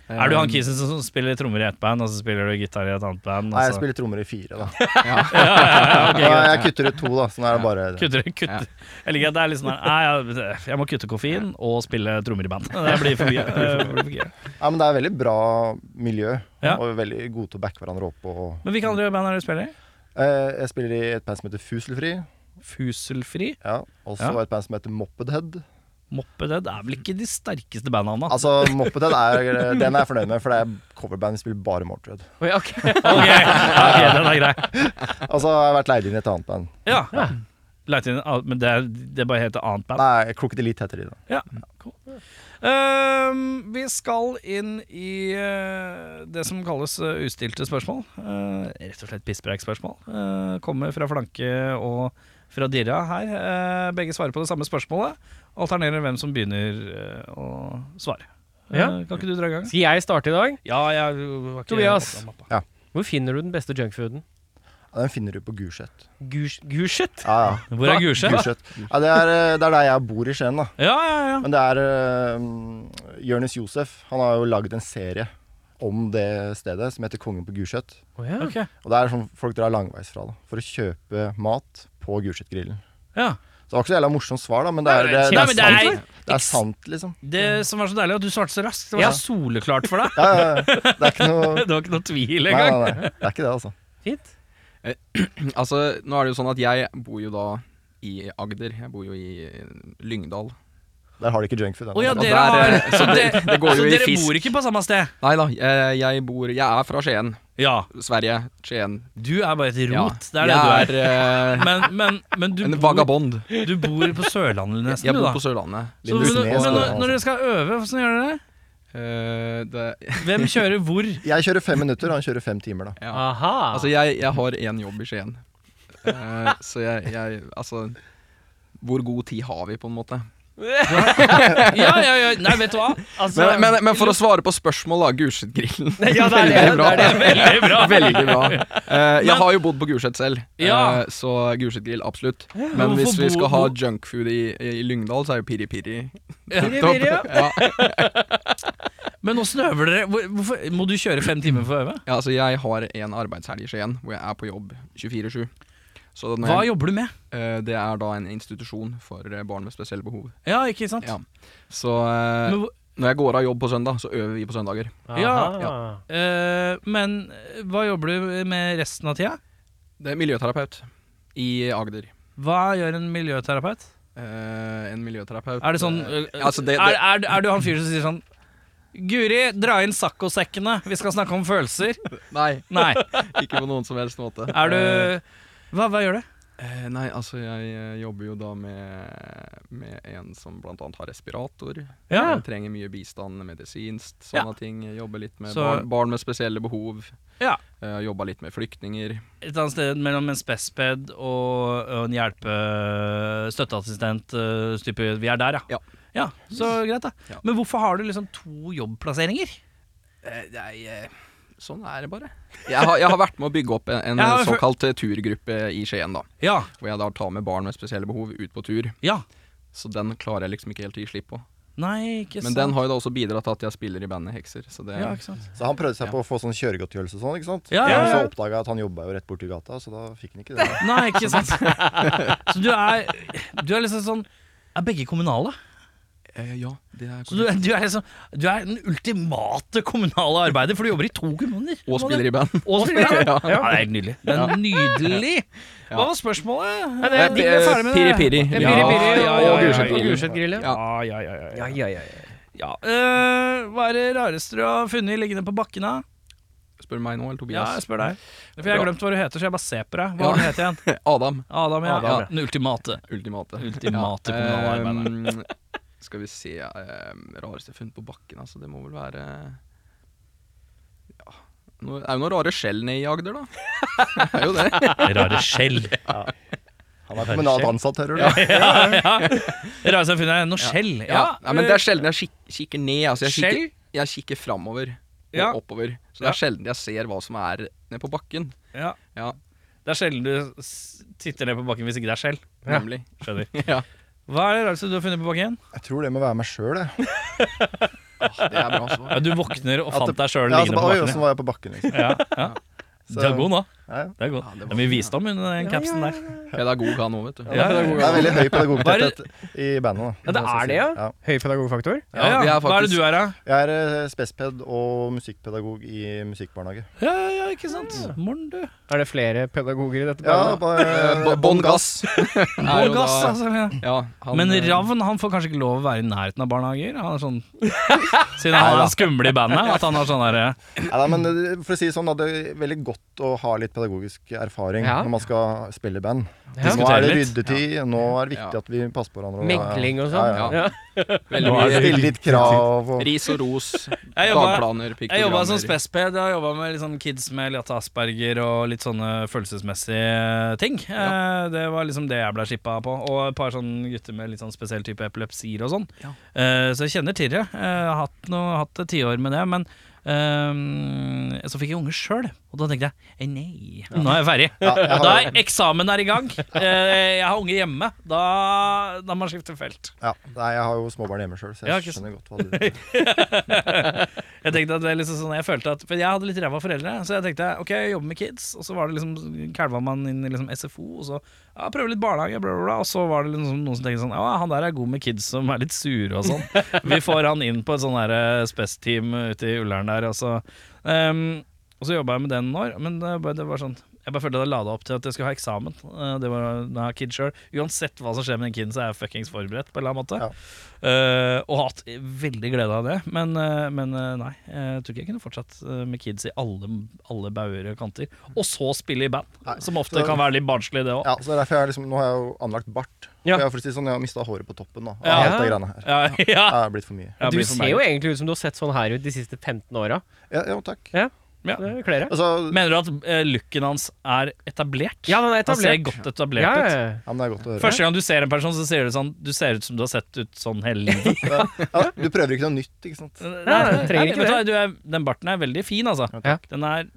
S1: Er du han kisen som, som spiller trommer i ett band, og så spiller du gitar i et annet band? altså?
S3: Nei, jeg
S1: og så-
S3: spiller trommer i fire, da.
S4: Ja.
S3: Og jeg kutter ut to, da. Sånn er det bare
S1: Kutter, kutter. Jeg liker at det er litt sånn her Nei, jeg, jeg må kutte koffein og spille trommer i band. Det blir for mye. Det blir for mye.
S3: Ja, men det er veldig bra miljø,
S1: Ja.
S3: og veldig gode til å backe hverandre opp og
S1: Men hvilke andre band er det du spiller i?
S3: eh, Jeg spiller i et band som heter Fuselfri,
S1: Fuselfri?
S3: ja. og så
S1: Ja.
S3: et band som heter Moppedhead.
S1: Moppedead er vel ikke de sterkeste bandene?
S3: Altså, Moppedhead er eh, den er jeg fornøyd med, for det er coverband, vi spiller bare Mordred.
S2: Oi, ok.
S3: Altså-
S1: Ok, ok, den er grei.
S3: Og så har Altså, jeg vært leid inn i et annet band.
S1: Ja. Leit inn, ah, men det, er- det er bare helt annet band.
S3: Nei, Crooked Elite heter de, da.
S1: Ja, cool. Ehm, vi skal inn i eh, det som kalles eh, ustilte spørsmål. Eh, rett og slett pisspreikspørsmål. Uh, kommer fra flanke og fra dirra her. Eh, begge svarer på det samme spørsmålet. Alternerer hvem som begynner eh, å svare. Eh,
S2: Ja.
S1: kan ikke du dra i gang?
S2: Skal jeg starte i dag?
S1: Ja, jeg var ikke
S2: Tobias.
S1: oppe av mappa.
S2: Hvor finner du den beste junkfooden?
S3: Ja, Den finner du på Gulset.
S2: Gurs- Gurset?
S3: Ja, ja.
S1: Hvor er Gulset?
S3: Gulset. Ja, det, er, eh, det er der jeg bor i Skien, da.
S1: Ja, ja, ja.
S3: Men det er uh, Jonis Josef Han har jo lagd en serie om det stedet som heter Kongen på Gulset.
S2: Å ja.
S1: Ok.
S3: Og det er sånn folk drar langveis fra da, for å kjøpe mat på Gulset-grillen.
S1: ja.
S3: Så det var ikke så jævla morsomt svar, da, men det er, det, det
S1: Nei,
S3: er,
S1: men det er-
S3: sant, det er sant, liksom.
S1: Det som var så deilig, at du svarte så raskt. Det var
S2: Ja.
S1: så soleklart for deg.
S3: Ja, ja, ja. det er ikke noe
S1: Det var ikke noe tvil
S3: nei,
S1: engang.
S3: nei, nei, det er ikke det, altså.
S2: Fint.
S4: Altså, nå er det jo sånn at jeg bor jo da i Agder. Jeg bor jo i eh, Lyngdal.
S3: Der har de ikke junkfood.
S1: Å ja,
S4: Og
S1: dere
S4: der,
S1: har
S4: eh,
S1: Så, det,
S4: det går jo
S1: så
S4: i
S1: Altså, dere
S4: fisk.
S1: bor ikke på samme sted?
S4: Nei da, jeg, jeg bor Jeg er fra Skien.
S1: Ja.
S4: Sverige. Skien.
S1: Du er bare et
S4: Ja.
S1: rot. Det er det
S4: jeg
S1: du er.
S4: er. eh,
S1: Men, men, men du,
S4: en
S1: bor,
S4: vagabond.
S1: du bor på Sørlandet nesten,
S4: Jeg
S1: du,
S4: bor
S1: da.
S4: på Sørlandet.
S1: Så, men, men
S3: Lindesnes, da, altså.
S1: når dere skal øve, hvordan gjør dere det?
S4: Eh, det,
S1: Hvem kjører hvor?
S3: Jeg kjører fem minutter, han kjører fem timer, da.
S4: ja.
S2: Aha.
S4: Altså, jeg, jeg har én jobb i Skien. Eh, så jeg, jeg Altså, hvor god tid har vi, på en måte?
S1: Ja, ja, ja. Nei, vet du hva?
S2: Altså-
S4: Men, men, men for å svare på spørsmål, da. Gulset-grillen.
S2: Ja, det er det.
S4: Veldig bra.
S2: Det er det.
S1: Veldig bra.
S4: Veldig bra. Eh, jeg
S1: Men-
S4: har jo bodd på Gulset selv, eh,
S1: Ja.
S4: så Gulset-grill absolutt. Men
S1: Hvorfor
S4: hvis vi
S1: bo-
S4: skal ha
S1: bo-
S4: junkfood i, i Lyngdal, så er jo piri-piri
S2: Pirri, pirri, ja.
S4: ja.
S1: Men åssen øver dere? Hvor, hvorfor, må du kjøre fem timer for å øve?
S4: ja, altså Jeg har en arbeidshelg i Skien hvor jeg er på jobb 24-7. Så når
S1: Hva
S4: jeg,
S1: jobber du med?
S4: eh, det er da en institusjon for eh, barn med spesielle behov.
S1: Ja, ikke sant?
S4: Ja. Så eh,
S1: Men, hvor-
S4: når jeg går av jobb på søndag, så øver vi på søndager.
S1: Ja,
S2: Aha.
S1: eh, men hva jobber du med resten av tida?
S4: Det er miljøterapeut i Agder.
S1: Hva gjør en miljøterapeut?
S4: Eh, en miljøterapeut
S1: Er det sånn
S4: eh,
S1: øh,
S4: altså, det-
S1: Er,
S4: det-
S1: er, er du han fyren som sier sånn Guri, dra inn saccosekkene, vi skal snakke om følelser.
S4: Nei,
S1: Nei.
S4: ikke på noen som helst måte.
S1: Er du
S4: Eh,
S1: Hva, hva gjør du?
S4: Eh, nei, altså jeg eh, jobber jo da med, med en som blant annet har respirator.
S1: Ja.
S4: Eh, Trenger mye bistand medisinsk,
S1: Ja.
S4: sånne ting. Jeg Jobber litt med
S1: Så-
S4: barn, barn med spesielle behov.
S1: Ja.
S4: Eh, Jobba litt med flyktninger.
S1: Et eller annet sted mellom en spesped og, og en hjelpe støtteassistent eh, type, Vi er der,
S4: Ja.
S1: ja. Ja, Så greit, da.
S4: Ja.
S1: Men hvorfor har du liksom to jobbplasseringer?
S4: Eh, jeg, eh, sånn er det bare. Jeg har, jeg har vært med å bygge opp en, en
S1: Ja, men for-
S4: såkalt eh, turgruppe i Skien, da.
S1: Ja.
S4: Hvor jeg da tar med barn med spesielle behov ut på tur.
S1: ja.
S4: Så den klarer jeg liksom ikke helt å gi slipp på.
S1: Nei, ikke sant.
S4: Men den har jo da også bidratt til at jeg spiller i bandet Hekser. Så det
S1: ja, ikke sant?
S3: Så han prøvde seg på å få sånn kjøregodtgjørelse og sånn, ikke sant?
S1: Ja, ja,
S3: Men
S1: ja.
S3: så oppdaga jeg at han jobba jo rett borti gata, så da fikk han ikke det.
S1: Nei, ikke sant. Så du er, du er liksom sånn Er begge kommunale?
S4: eh, Ja, det er
S1: Så du, du, er liksom, du er den ultimate kommunale arbeider, for du jobber i to kommuner.
S4: Og spiller i band.
S1: Og spiller, ja.
S4: Ja.
S1: ja, det er helt nydelig. Det er nydelig.
S4: Ja.
S1: Hva var spørsmålet?
S2: Nei, det er-
S1: Vi ble ferdig med det.
S4: Piri-piri.
S2: Det er Piri Piri
S1: Ja,
S2: og-
S1: ja, ja,
S2: og
S1: ja,
S2: Gulset-
S1: ja.
S2: og Gulset-grillet.
S4: Ja.
S1: ja, ja, ja,
S2: Ja, ja, ja, ja.
S1: Ja, øh, hva er det rareste du har funnet liggende på bakken? da?
S4: Spør meg nå, eller
S1: Ja,
S4: Tobias.
S1: jeg spør deg. For jeg har glemt hva du heter, så jeg bare ser på deg. Hva
S4: Ja.
S1: var det du heter igjen?
S4: Adam.
S1: Adam, ja.
S4: Adam, ja.
S1: Den ultimate.
S4: Ultimate.
S1: Ultimate kommunale
S4: arbeidere. skal vi se um, Rareste funn på bakken, altså. Det må vel være Ja Nå- Det er jo noen rare skjell nede i Agder, da. Det er jo det.
S1: Rare skjell.
S3: Han er kommunalt ansatt, hører du.
S1: Det rareste jeg har funnet, er noe skjell.
S4: Ja. Nei, men det er sjelden jeg kik kikker ned. Altså, jeg
S1: Skjell?
S4: kikker, jeg kikker framover og
S1: Ja.
S4: oppover. Så det
S1: Ja.
S4: er sjelden jeg ser hva som er nede på bakken.
S1: Ja.
S4: Ja,
S1: Det er sjelden du s- titter ned på bakken hvis ikke det er skjell.
S4: nemlig.
S1: Skjønner.
S4: Ja.
S1: Hva er det rareste du har funnet på bakken?
S3: Jeg tror det må være meg sjøl, jeg.
S4: Ah, det er bra svar.
S1: Ja, du våkner og
S3: At
S1: fant
S3: det-
S1: deg sjøl
S3: Ja, altså,
S1: liggende
S3: bare,
S1: på
S3: Oi,
S1: bakken.
S3: åssen var jeg på bakken, liksom?
S1: Ja, ja.
S3: Så-
S1: Det er god nå.
S3: Ja, ja.
S1: Det er, god.
S4: Ja, det
S1: det
S4: var-
S1: er mye visdom under den capsen der.
S4: Pedagog han òg, vet du.
S1: Ja,
S3: Det er veldig høy pedagogtetthet i bandet.
S2: Ja,
S3: da
S2: det er det, ja. Høy pedagogfaktor.
S1: Ja, ja.
S4: vi er
S1: Hva er det
S4: faktisk-
S1: du er, da?
S3: Jeg er eh, spesped og musikkpedagog i musikkbarnehage.
S1: Ja, ja, ikke sant. Morn, du.
S2: Er det flere pedagoger i dette
S3: Ja,
S2: bandet?
S4: Eh,
S3: bare,
S4: Bo- Bånn gass.
S1: Og gass, altså. Ja.
S4: Ja, han,
S1: Men
S4: eh,
S1: Ravn han får kanskje ikke lov å være i nærheten av barnehager? Han er sånn, siden han er den skumle i bandet. At han har sånn derre
S3: Ja, nei, men eh, for å si det sånn, da, det er veldig godt å ha litt pedagogisk erfaring
S2: Ja.
S3: når man skal spille i band.
S2: Ja.
S3: Nå er
S1: Diskutere
S3: det
S1: litt.
S3: ryddetid, nå er det
S4: Ja.
S3: viktig at vi passer på hverandre.
S2: Megling og sånn.
S3: Ja, ja.
S2: Ja.
S4: veldig
S1: Nå er
S4: mye
S1: det-
S3: Stille litt krav og
S4: Ris og ros,
S1: Jeg jobba-
S4: dagplaner,
S1: Jeg
S4: piktogrammer.
S1: jobba som spesped. Jeg har jobba med litt sånn kids med litt asperger og litt sånne følelsesmessige ting. Eh, det var liksom det jeg ble skippa på. Og et par sånne gutter med litt sånn spesiell type epilepsier og sånn.
S4: Ja.
S1: Eh, så jeg kjenner til det. Eh, Jeg har hatt, noe, hatt et tiår med det. Men eh, så fikk jeg unge sjøl, og da tenkte jeg eh, nei, nå er jeg ferdig.
S3: Ja, jeg har-
S1: Da er eksamen er i gang. Eh, jeg har unge hjemme. Da, da må man skifte felt.
S3: ja. Nei, jeg har jo småbarn hjemme sjøl, så
S1: Ja,
S3: jeg
S1: ikke sant.
S3: skjønner godt hva du
S1: Jeg tenkte at det er liksom sånn Jeg følte at For jeg hadde litt ræva foreldre, så jeg tenkte ok, jeg jobber med kids, og så var det liksom kalva man inn i liksom SFO, og så ja, prøve litt barnehage, bla, bla, bla, og så var det liksom noen som tenkte sånn Ja, han der er god med kids som er litt sure og sånn. Vi får han inn på et sånn derre spes-team ute i Ullern der, og så ehm, Og så jobba jeg med den noen år, men det, bare- det var sånn jeg bare følte at jeg lada opp til at jeg skulle ha eksamen. Eh, Det var da jeg har kid selv. Uansett hva som skjer med den kiden, så er jeg fuckings forberedt. på en eller annen måte
S3: Ja.
S1: Eh, Og hatt veldig glede av det. Men, eh, men eh, nei, jeg tror ikke jeg kunne fortsatt eh, med kids i alle, alle bauger og kanter. Og så spille i band,
S3: Nei,
S1: som ofte
S3: så-
S1: kan være litt barnslig, det òg.
S3: Ja, så derfor jeg liksom, Nå har jeg jo anlagt bart.
S2: Ja.
S3: For Jeg, har for å si det sånn, jeg har mista håret på toppen da, av
S1: Ja.
S3: alt det greiene her.
S1: Ja, ja.
S3: Det er blitt for mye.
S1: Jeg
S2: Du
S1: blir for
S2: ser
S1: meg.
S2: jo egentlig ut som du har sett sånn her ut de siste 15 åra.
S3: Ja, jo, takk.
S1: Ja.
S2: Det kler deg.
S3: Altså,
S1: Mener du at eh, looken hans er etablert?
S2: Ja, den er
S1: Han ser
S2: etablert.
S1: godt etablert
S2: Ja, ja,
S1: ut.
S2: ja.
S3: ja, men det er godt å høre.
S1: Første gang du ser en person, så ser du sånn Du ser ut som du har sett ut sånn hele livet.
S3: Ja, du prøver ikke noe nytt, ikke sant?
S1: Nei,
S2: nei, trenger ikke
S1: vet du hva, du er- Den barten er veldig fin, altså.
S2: Ja.
S1: Den er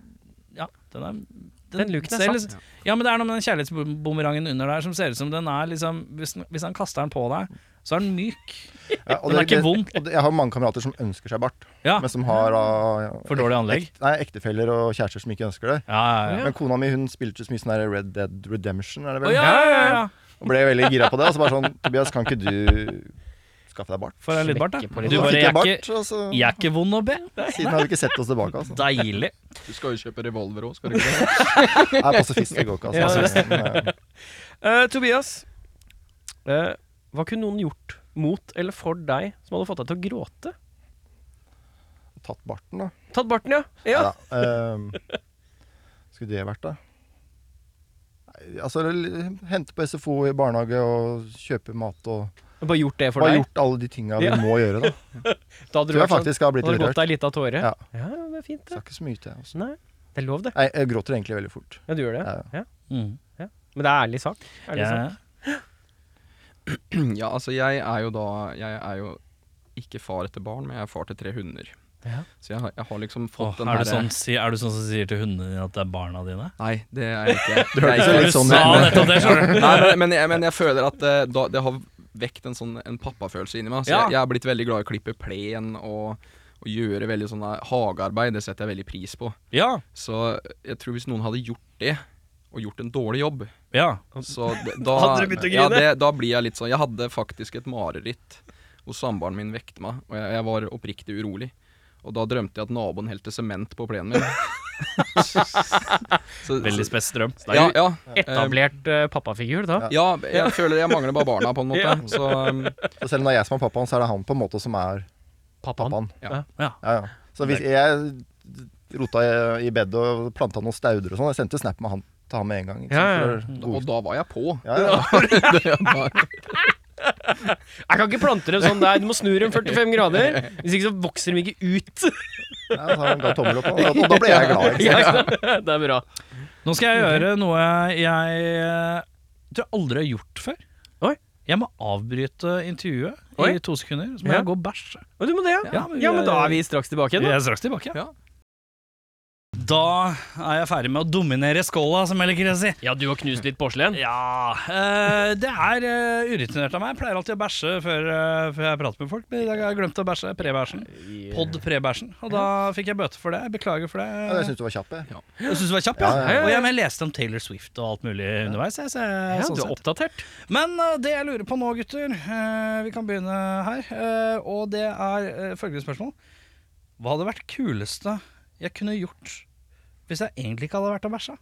S1: Ja, den er
S2: Den looken er
S1: ser
S2: satt.
S1: liksom- Ja, men det er noe med den kjærlighetsbumerangen under der som ser ut som den er liksom Hvis, den- hvis han kaster den på deg, så er den myk.
S3: Ja, og
S1: Den er ikke vond.
S3: og det- Jeg har mange kamerater som ønsker seg bart,
S1: Ja,
S3: men som har da,
S1: for dårlig anlegg.
S3: Nei, ektefeller og kjærester som ikke ønsker det.
S1: Ja, ja, ja.
S3: Men kona mi hun spilte så mye sånn der Red Dead Redemption er
S1: Å,
S3: det vel?
S1: ja, ja, ja, ja.
S3: og ble veldig gira på det. Og så bare sånn Tobias, kan ikke du skaffe deg bart?
S1: Får jeg litt bart, da?
S2: Smekke på litt.
S1: Du
S3: Så
S1: bare,
S3: fikk
S1: jeg
S3: jeg
S1: er
S3: bart,
S1: ikke,
S3: og så
S1: jeg er ikke vond å be.
S3: siden har vi ikke sett oss tilbake. altså
S1: Deilig.
S4: Du skal jo kjøpe revolver òg, skal du ikke det?
S3: Jeg er pasifist, jeg går ikke. Altså. Men, eh,
S2: Eh, Tobias, eh, hva kunne noen gjort mot eller for deg som hadde fått deg til å gråte?
S3: Tatt barten, da.
S2: Tatt barten, ja. ja.
S3: Neida, ehm, skulle det vært, da? Nei, altså, l- hente på SFO i barnehage og kjøpe mat og
S2: Bare gjort det for
S3: Bare
S2: deg?
S3: gjort alle de tinga
S2: Ja.
S3: vi må gjøre, da.
S2: Da hadde du
S3: Tror jeg
S2: vært sånn,
S3: faktisk har blitt
S2: hadde
S3: litt
S2: det gått
S3: rørt.
S2: deg litt av tåre?
S3: Ja.
S2: ja, det er fint,
S3: Det
S2: det.
S3: er ikke så mye til. Altså.
S2: Nei, det er lov, det.
S3: Nei, jeg gråter egentlig veldig fort.
S2: Ja, du gjør det.
S3: Ja.
S1: Mm.
S2: Men det er ærlig sak. Ærlig
S1: Ja.
S2: sak.
S4: Ja, altså jeg er jo da Jeg er jo ikke far til barn, men jeg er far til tre hunder.
S2: Ja.
S4: Så jeg har, jeg har liksom
S1: Åh,
S4: fått den
S1: er,
S4: herre
S1: du sånn, si- er du sånn som sier til hundene dine at det er barna dine?
S4: Nei, det er jeg ikke.
S3: Det hørtes
S4: Det er
S3: jo
S4: ikke-
S3: litt sånn
S1: sa
S3: ut, men-
S1: nettopp det, skjønner du.
S4: Nei, men, men, jeg, men jeg føler at eh, da, det har vekt en sånn en pappafølelse inni meg. Så
S1: Ja.
S4: jeg, jeg har blitt veldig glad i å klippe plen og, og gjøre veldig sånn der hagearbeid. Det setter jeg veldig pris på.
S1: Ja.
S4: Så jeg tror hvis noen hadde gjort det, og gjort en dårlig jobb,
S1: ja.
S4: så d- da,
S2: Hadde du begynt å
S4: ja,
S2: grine?
S4: det, da blir jeg litt sånn Jeg hadde faktisk et mareritt hvor samboeren min vekte meg, og jeg, jeg var oppriktig urolig. Og da drømte jeg at naboen helte sement på plenen min. Så-
S1: Veldig spes drøm.
S4: så- ja, ja, Ehm,
S2: Etablert eh, pappafigur, da.
S3: Ja.
S4: ja, jeg føler jeg mangler bare barna, på en måte.
S2: Ja.
S4: Så um,
S3: Så selv om det er jeg som er pappaen, så er det han på en måte som er
S2: Pappaen.
S3: pappaen.
S4: Ja.
S1: Ja.
S3: Ja, ja. Så hvis jeg rota i- i bedet og planta noen stauder og sånn, jeg sendte snap med han til han med en gang. ikke
S2: Ja,
S3: sant, for
S4: Og
S3: god-
S4: da var jeg på.
S3: ja, ja.
S4: Det var-
S2: Jeg kan ikke plante dem sånn der. Du må snu dem 45 grader. Hvis ikke så vokser de ikke ut.
S3: Ja, så han ga tommel opp, og da, og da ble jeg glad. Ikke sant?
S2: Ja, det er bra.
S1: Nå skal jeg gjøre noe jeg eh, tror jeg aldri har gjort før.
S2: Oi.
S1: Jeg må avbryte intervjuet
S2: Oi.
S1: i to sekunder, så må
S2: Ja.
S1: jeg gå og bæsje.
S2: Å, Du må det, ja.
S1: Ja, men vi
S2: Ja, men da
S1: er-
S2: er vi straks tilbake
S1: Jeg
S2: igjen. da.
S1: er straks tilbake.
S4: Ja.
S1: Da er jeg ferdig med å dominere skåla, som jeg liker å si.
S2: Ja, du har knust litt porselen.
S1: Ja eh, Det er uh, urutinert av meg. Jeg pleier alltid å bæsje før, eh, før jeg prater med folk, men i dag har jeg glemt å bæsje. Pre-bæsjen. Pod pre-bæsjen. Og da fikk jeg bøte for det. Jeg beklager for det.
S3: Ja, jeg syns du var kjapp, jeg.
S1: Jeg syns du var kjapp, ja.
S3: Ja, ja,
S2: ja.
S1: Og jeg, men jeg leste om Taylor Swift og alt mulig underveis. Jeg, så jeg,
S2: Ja,
S1: sånn
S2: du er
S1: sett.
S2: oppdatert.
S1: Men eh, det jeg lurer på nå, gutter eh, Vi kan begynne her. eh, og det er eh, følgende spørsmål. Hva hadde vært kuleste jeg kunne gjort hvis jeg egentlig ikke hadde vært og bæsja?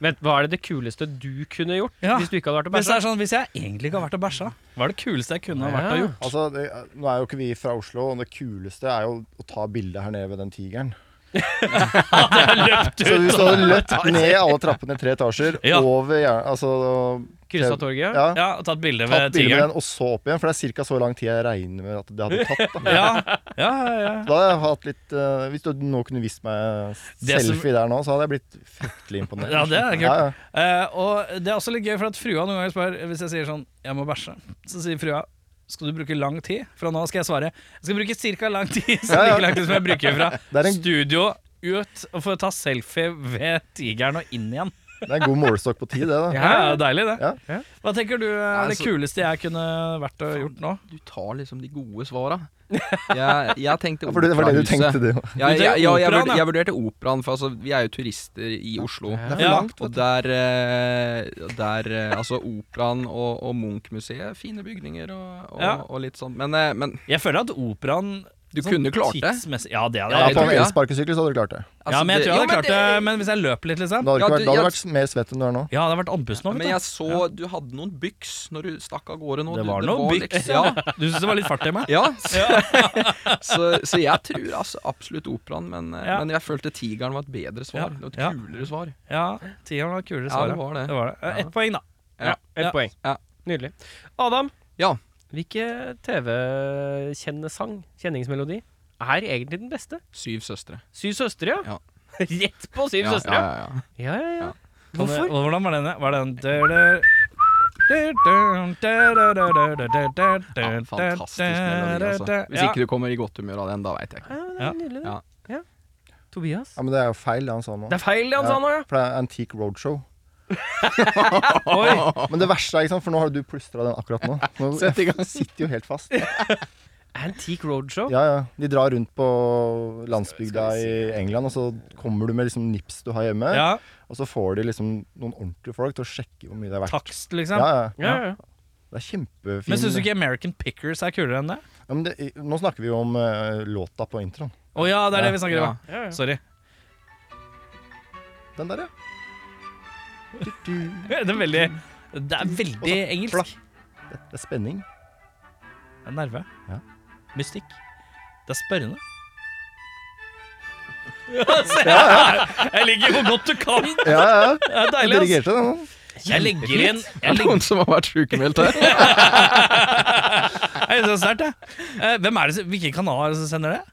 S2: Vent, hva er det det kuleste du kunne gjort
S1: Ja.
S2: hvis du ikke hadde vært og
S1: Hvis, det
S2: bæsja?
S1: er sånn, hvis jeg egentlig ikke har vært og bæsja, hva er det kuleste jeg kunne ha vært og
S2: Ja.
S1: gjort?
S3: Altså, det, nå er jo ikke vi fra Oslo, og det kuleste er jo å ta bilde her nede ved den tigeren. Så hvis du hadde løpt ned alle trappene i tre etasjer,
S1: Ja.
S3: over jern- altså,
S2: Kryssa torget?
S3: ja,
S1: Ja, og tatt bilde ved
S3: tatt bilde med
S1: tigeren.
S3: den, og så opp igjen, for det er ca. så lang tid jeg regner med at det hadde tatt. Da.
S1: Ja, ja, ja, ja.
S3: Da hadde jeg hatt litt eh, Hvis du nå kunne vist meg
S1: Det som-
S3: selfie der nå, så hadde jeg blitt fryktelig imponert.
S1: Ja, det er kult.
S3: Ja, ja.
S1: Eh, og det er også litt gøy, for at frua noen ganger spør Hvis jeg sier sånn 'Jeg må bæsje', så sier frua 'Skal du bruke lang tid?' Fra nå skal jeg svare 'Jeg skal bruke cirka lang tid', så
S3: Ja, ja.
S1: like lang tid som jeg bruker
S3: Det
S1: fra
S3: er en-
S1: studio ut og få ta selfie ved tigeren og inn igjen.
S3: Det er en god målestokk på tid, det. da
S1: Ja, det er deilig, det.
S3: Ja.
S2: Ja.
S1: Hva tenker du er det
S4: Altså-
S1: kuleste jeg kunne vært og gjort nå?
S4: Du tar liksom de gode svara. Jeg, jeg tenkte
S3: Ja, for det var det du
S4: operahuset.
S3: tenkte, du.
S4: Jeg,
S1: Du tenkte
S4: jeg, jeg, jeg,
S1: operaen,
S4: vurd-
S1: ja.
S4: jeg vurderte operaen, for altså, vi er jo turister i Oslo.
S2: Det er
S1: for Ja. langt,
S4: og der, eh, der eh, Altså, operaen og, og Munch-museet, fine bygninger og, og,
S1: Ja.
S4: og litt sånn. Men, eh, men
S1: Jeg føler at operaen
S4: du kunne klart det.
S1: Sånn tidsmessig- Ja, det hadde
S3: Ja,
S1: jeg
S4: jeg
S3: på
S1: helt
S4: tror-
S3: en
S4: ja.
S3: elsparkesykkel så hadde du klart det.
S1: Ja, men jeg tror jeg hadde klart Altså, det,
S4: Men,
S1: men hvis jeg løper litt, liksom.
S3: Da hadde du
S4: Ja,
S3: ikke
S4: du-
S3: vært, da hadde
S4: ja.
S3: du vært mer svett enn du er nå.
S1: Ja, det hadde vært andpusten nå,
S4: men
S1: vet
S4: jeg så du hadde noen byks når du stakk av gårde nå.
S1: du. Det
S4: Du-
S1: var noe byks.
S4: liksom-
S1: Ja.
S4: Ja,
S1: Du syns det var litt fart i meg?
S4: Ja, så, så, så jeg tror altså absolutt operaen, men, eh,
S1: Ja.
S4: men jeg følte Tigeren var et bedre svar.
S1: Ja,
S4: Det var
S1: ja.
S4: et kulere svar.
S1: Ja, tieren var kulere
S4: Ja,
S1: svar.
S4: det var det.
S1: det, var det. Eh,
S4: Ja.
S1: Ett poeng, da.
S2: Ja, ett
S1: Ja.
S2: poeng.
S4: Ja.
S2: Nydelig. Adam,
S4: Ja.
S2: hvilke TV-kjennesang, kjenningsmelodi, er egentlig den beste?
S4: Syv søstre.
S2: Syv søstre, ja.
S4: Ja.
S2: Rett på Syv
S4: Ja,
S2: søstre.
S4: ja, ja, ja.
S2: Ja, ja, ja.
S4: Ja.
S1: Kan jeg-
S2: Hvorfor?
S1: og Hvordan var den? Var den ja,
S4: Ja, fantastisk melodi, altså. Hvis ikke du kommer i godt humør av den, da veit jeg
S2: Ja,
S4: ikke.
S2: det
S1: Ja.
S2: er nydelig,
S4: Ja.
S2: det. Ja. Tobias?
S3: Ja, Men det er jo feil, det han sa nå.
S2: Det er feil, det han sa nå, ja.
S3: For det er Antique Roadshow.
S1: Oi.
S3: Men det verste er, ikke sant, for nå har du plystra den akkurat nå. nå
S4: Sett i gang.
S3: jeg sitter jo helt fast.
S2: Antique Roadshow.
S3: Ja, ja. De drar rundt på landsbygda
S4: Skal vi
S3: i England, og så kommer du med liksom nips du har hjemme,
S1: Ja,
S3: og så får de liksom noen ordentlige folk til å sjekke hvor mye det er verdt.
S1: takst, liksom.
S3: Ja, ja.
S2: Ja, ja.
S3: Det er kjempefin
S1: Men syns du ikke American Pickers er kulere enn det?
S3: ja, men det, Nå snakker vi jo om eh, låta på introen.
S1: Å ja, det er det vi
S3: Ja,
S1: snakker om.
S2: ja, ja.
S1: Sorry.
S3: Den der, ja. Du-du.
S1: Det er veldig, det er veldig engelsk.
S3: Det er spenning.
S1: Det er nerve.
S3: Ja.
S1: Mystikk. Det er spørrende. Jeg ligger hvor godt du kan!
S3: Ja, ja.
S1: Det er
S3: Jeg
S1: deilig, ass.
S3: dirigerte den. da.
S1: Jeg legger igjen
S4: Er
S1: jeg
S4: det
S1: legger,
S4: noen som har vært sykemeldt her?
S1: jeg synes det er sterkt, jeg. Eh, Hvem er det, som- hvilke kanaler er det som sender det?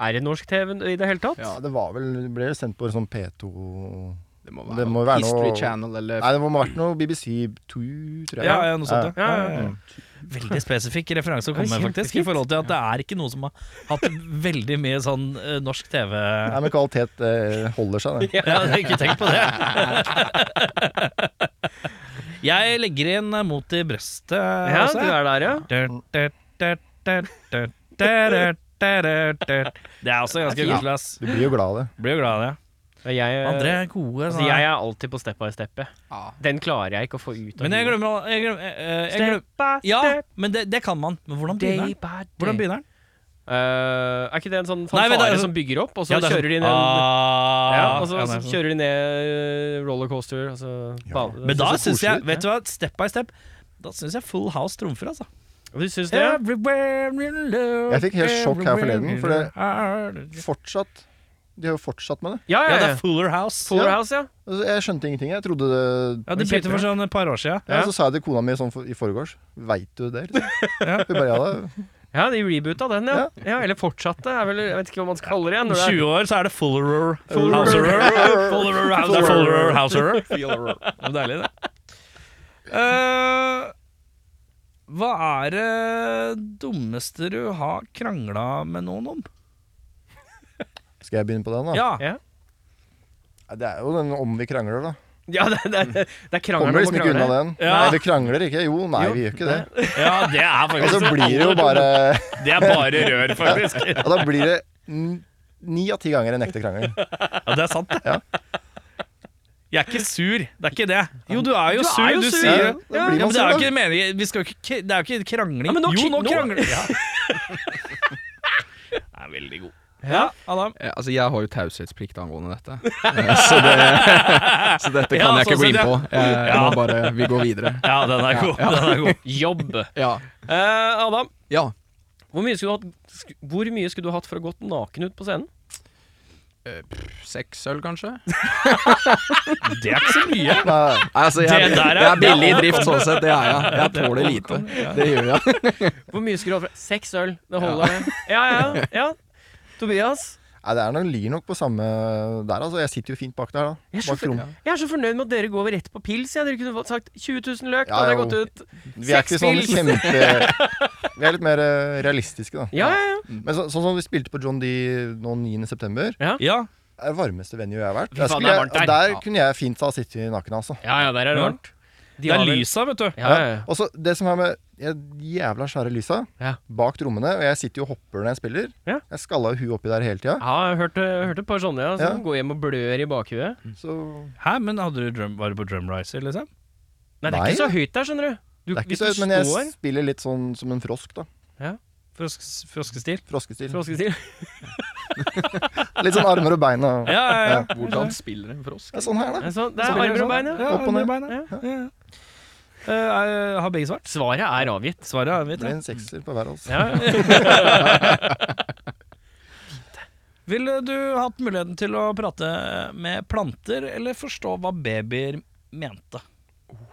S2: Er det norsk TV i det hele tatt?
S4: Ja.
S3: Ja, det var vel, det ble jo sendt på sånn P2
S4: Det må være,
S3: Det må være
S4: History
S3: noe-
S4: Channel eller
S3: Nei, det må ha vært noe BBC2, tror jeg.
S1: Ja, ja, noe sånt, ja.
S3: Ja.
S2: Ja, ja, ja.
S1: Veldig spesifikk referanse å komme med, faktisk. I forhold til at det er ikke noe som har hatt veldig mye sånn eh, norsk TV
S3: Nei, men kvalitet eh, holder seg, det.
S1: Ja, jeg har ikke tenkt på det. Jeg legger inn eh, mot i brøstet altså.
S2: ja
S1: også.
S2: du er der, ja.
S1: Det er også ganske
S3: Ja.
S1: koselig, ass.
S3: Du blir jo glad av det.
S1: Blir jo glad av det.
S2: Jeg,
S1: Andre er gode.
S2: altså,
S1: sånn.
S2: jeg er alltid på step by step. jeg.
S4: Ja.
S2: Den klarer jeg ikke å få ut av
S1: Men jeg
S2: huet.
S1: glemmer, all- jeg glemmer, eh, eh, jeg glemmer.
S2: Step by
S1: Ja,
S2: step,
S1: men det, det kan man. Men hvordan
S2: day
S1: begynner den?
S2: by day.
S1: Hvordan begynner den?
S2: Eh, er ikke det en sånn
S1: Nei,
S2: fanfare
S1: men det er- altså-
S2: som bygger opp, og så
S1: Ja, det er
S2: kjører de
S1: sånn-
S2: ned en,
S1: Ah,
S2: ja, og så,
S1: ja,
S2: så
S1: det er sånn.
S2: kjører de ned eh, altså rollercoaster og så
S3: Ja.
S2: bane-
S1: Men da
S3: Det ser
S1: syns jeg
S3: koselig ut,
S1: Vet du hva, step by step Da syns jeg Full House trumfer, altså.
S2: Du syns det? Ja.
S1: Jeg
S3: Jeg fikk helt sjokk her forleden, for det- Fortsatt. De har jo fortsatt med det.
S2: Ja,
S1: Ja,
S2: ja,
S1: det er Fuller House.
S2: Fuller
S3: Ja.
S2: House, ja.
S3: Altså, jeg skjønte ingenting. Jeg trodde det
S1: Ja, Det
S2: Men
S1: begynte for
S2: kjempebra.
S1: sånn et par år siden.
S3: ja, Så sa jeg til kona mi sånn for, i forgårs Veit du det? liksom? Hun bare ja da.
S2: Ja, de reboota den, ja. ja. Eller fortsatte, er vel Jeg vet ikke hva man kaller det igjen.
S1: Om
S2: når det er-
S1: 20 år så er det Fuller Houserer. Fuller House- det er Fuller Houserer. Det er deilig, det. Eh, hva er det dummeste du har krangla med noen om?
S3: Skal jeg begynne på den, da?
S1: Ah, Ja.
S2: Ja.
S3: Ja, Det er jo den om vi krangler, da.
S2: Ja, det, det, er- det er krangel
S3: Kommer
S2: om å
S3: liksom ikke unna
S2: krangle.
S3: den.
S1: Ja.
S3: Nei, vi krangler ikke. Jo, nei, vi gjør ikke det.
S1: ja, det er
S3: Og så
S1: faktisk
S3: blir det jo bare
S1: Det er bare rør, faktisk.
S3: Og da blir det n- ni av ti ganger en ekte krangel.
S1: Ja, det er sant, det.
S3: Ja.
S1: Jeg er ikke sur, det er ikke det. Jo, du er jo
S2: Du er
S1: sur,
S2: jo
S1: du
S2: sur.
S1: sier
S3: Ja,
S1: det.
S3: da blir
S1: Ja,
S3: man
S1: men det er
S3: sur,
S1: jo
S3: da.
S1: ikke meningen vi skal jo ikke, Det er jo ikke krangling.
S2: Ja, men nå
S1: jo,
S2: kri-
S1: nå
S2: nå-
S1: krangler ja. Det er veldig god.
S2: Ja.
S1: Adam.
S4: Eh, Altså, jeg har jo taushetsplikt angående dette. Eh, Så, det, så dette kan
S1: Ja,
S4: jeg ikke
S1: sånn
S4: bli
S1: sett,
S4: med
S1: ja.
S4: på. Jeg, jeg
S1: Ja.
S4: må bare Vi går videre.
S1: Ja, den er god. Den er god.
S2: Jobb.
S4: Ja.
S2: Eh, Adam,
S4: ja.
S2: hvor mye, skulle du hatt, sk- hvor mye skulle du hatt for å gått naken ut på scenen?
S4: Eh, pff, Seks øl, kanskje?
S1: Det er ikke så mye.
S3: Nei,
S4: Nei, altså, jeg,
S1: Det der er-
S4: jeg er billig i drift sånn sett, det er jeg. Jeg tåler lite. Det gjør jeg.
S2: Hvor mye skulle du hatt for Seks øl, det holder. Ja, ja, ja. Tobias,
S3: Nei, det er nok lir nok på samme der, altså. Jeg sitter jo fint bak der, da.
S2: Jeg er så
S3: Bak
S2: for-
S3: rommet.
S2: jeg er så fornøyd med at dere går rett på pils. Ja. Dere kunne fått sagt 20 000 løk, da
S3: Ja,
S2: hadde jeg
S3: jo.
S2: gått ut.
S3: Vi er ikke sånn
S2: Sexpils.
S3: kjempe Vi er litt mer eh, realistiske, da.
S2: Ja, ja, ja.
S3: Men så, sånn som vi spilte på John D nå 9.9.,
S1: Ja,
S3: er det varmeste venue jeg har vært.
S2: Fy
S3: Der,
S2: faen,
S3: skulle
S2: det er
S3: jeg,
S2: varmt der.
S3: der kunne jeg fint ha sittet naken, altså.
S2: Ja, ja, der er det
S1: Ja.
S2: varmt. De
S1: Det er
S2: har vel-
S1: lysa, vet du.
S2: Ja, ja, ja.
S3: Og så det som er med ja, de jævla svære lysa
S2: Ja.
S3: bak trommene, og jeg sitter jo og hopper når jeg spiller.
S2: Ja.
S3: Jeg skalla jo huet oppi der hele tida.
S2: Ja, jeg hørte, hørte et par sånne ja, som
S3: Ja.
S2: går hjem og blør i bakhuet.
S3: Så
S1: Hæ, men hadde du drum, Var du på Drumriser, liksom?
S2: Nei, det er
S3: Nei.
S2: ikke så høyt der, skjønner du. du
S3: det er ikke
S2: hvis
S3: så
S2: du
S3: høyt, men jeg
S2: står
S3: spiller litt sånn som en frosk, da.
S1: Frosk- Froskestil?
S3: Froskestil.
S2: Froskestil.
S3: Litt sånn armer og bein og
S1: Ja, ja, ja.
S4: Hvordan spiller en frosk?
S3: ja, Sånn her, da.
S2: Ja, sånn, det
S3: Så
S2: er
S3: blir det
S2: armer og
S3: sånn.
S2: bein, ja.
S1: ja
S3: Opp og ned.
S1: under beina. Ja, ja. Eh, er- har begge svart?
S2: Svaret er avgitt.
S1: Svaret er
S3: Det
S1: mitt.
S3: blir
S1: Ja.
S3: en sekser på hver altså. av oss.
S2: Ja.
S1: Ville du hatt muligheten til å prate med planter, eller forstå hva babyer mente?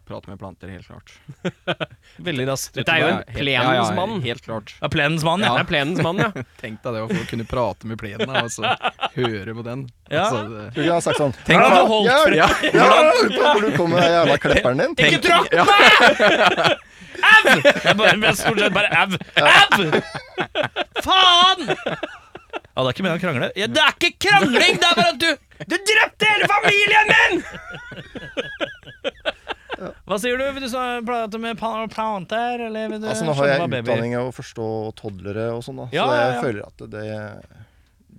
S4: Prate med planter, helt klart.
S1: Veldig raskt.
S2: Dette er jo en
S4: Helt- ja, ja,
S2: plenens mann.
S4: Helt klart.
S1: Ja, plenens mann,
S2: Det
S1: ja.
S2: er plenens mann, ja.
S4: Tenk deg det å få kunne prate med plenen da, og så høre på den.
S1: Ja.
S4: Altså, det,
S3: Tror du jeg har sagt sånn
S1: Tenk at du holdt
S3: ja,
S1: fri-
S3: ja, ja, Hvor du kom med den jævla klepperen din?
S1: Ikke tråkk på meg! Au! Jeg bare, jeg stort sett bare au. Au! Faen! Ja, det er ikke meningen å krangle. Ja, det er ikke krangling! Det er bare at du Du drepte hele familien min! Hva sier du? Vil du så prate med pa- planter, eller vil du
S3: Altså, nå har
S1: skjønne Eh,
S3: jeg
S1: hva babyer-
S3: utdanning i å forstå toddlere og sånn, da. Så
S1: Ja, ja,
S3: jeg
S1: ja.
S3: føler at det,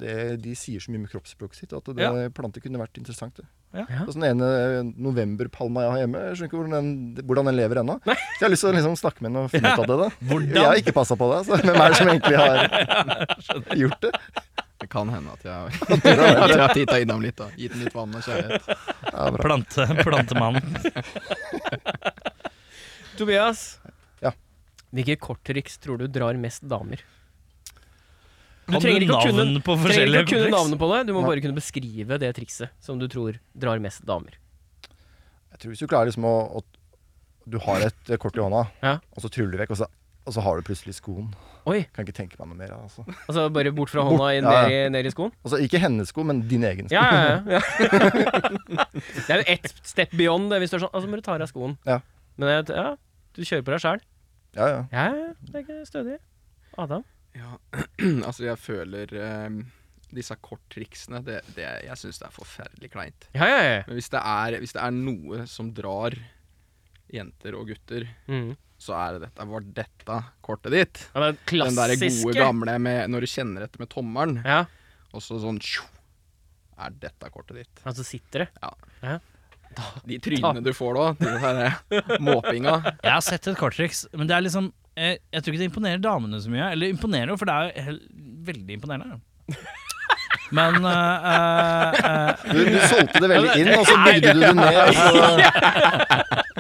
S3: det De sier så mye med kroppsspråket sitt at det planter kunne vært interessant. Det.
S1: Ja.
S3: Altså, den ene novemberpalma jeg har hjemme, jeg skjønner ikke hvordan den, hvordan den lever ennå. Så jeg har lyst til å liksom snakke med den og finne ut av det. da Jeg har ikke passa på det. Så hvem er det som egentlig har gjort det?
S4: det kan hende at jeg, at jeg har titta innom litt. da Gitt den litt vann og kjærlighet.
S3: Ja, bra.
S1: Plante, plantemannen.
S2: Tobias.
S3: Ja.
S2: Hvilke korttriks tror du drar mest damer? Du trenger ikke å kunne,
S1: navn på
S2: trenger
S1: forskjellige
S2: ikke å kunne
S1: kompleks?
S2: navnet på det, du må
S3: Nei.
S2: bare kunne beskrive det trikset som du tror drar mest damer.
S3: Jeg tror hvis du klarer liksom å, å Du har et eh, kort i hånda,
S2: Ja.
S3: og så tryller du vekk, og så, og så har du plutselig skoen.
S2: Oi,
S3: Kan ikke tenke meg noe mer. Altså.
S2: altså bare bort fra
S3: Bort,
S2: hånda inn,
S3: ja, ja.
S2: ned, i, ned i skoen?
S3: Altså, ikke hennes sko, men din egen sko.
S2: Ja, ja, ja. det er jo ett step beyond det, hvis du er sånn. Altså må du ta av deg skoen.
S3: Ja.
S2: Men jeg, ja, du kjører på deg sjæl.
S3: Ja, ja.
S2: Ja, ja, det er ikke stødig. Adam.
S4: Ja, altså jeg føler eh, disse korttriksene det, det, Jeg syns det er forferdelig kleint.
S2: Ja, ja, ja.
S4: Men hvis det, er, hvis det er noe som drar jenter og gutter,
S2: Mm.
S4: så er det dette. Var dette kortet ditt?
S2: ja den
S4: Den
S2: klassiske.
S4: derre gode gamle med, når du kjenner etter med tommelen,
S2: Ja,
S4: og så sånn tjo, Er dette kortet ditt?
S2: altså sitter det.
S4: De trynene du får da, de der måpinga.
S1: Jeg har sett et korttriks, men det er liksom eh, Jeg tror ikke det imponerer damene så mye. Eller imponerer jo, for det er jo hel- veldig imponerende. Men eh, eh, eh,
S3: Du, du solgte det veldig inn, og så bygde du det ned. og så-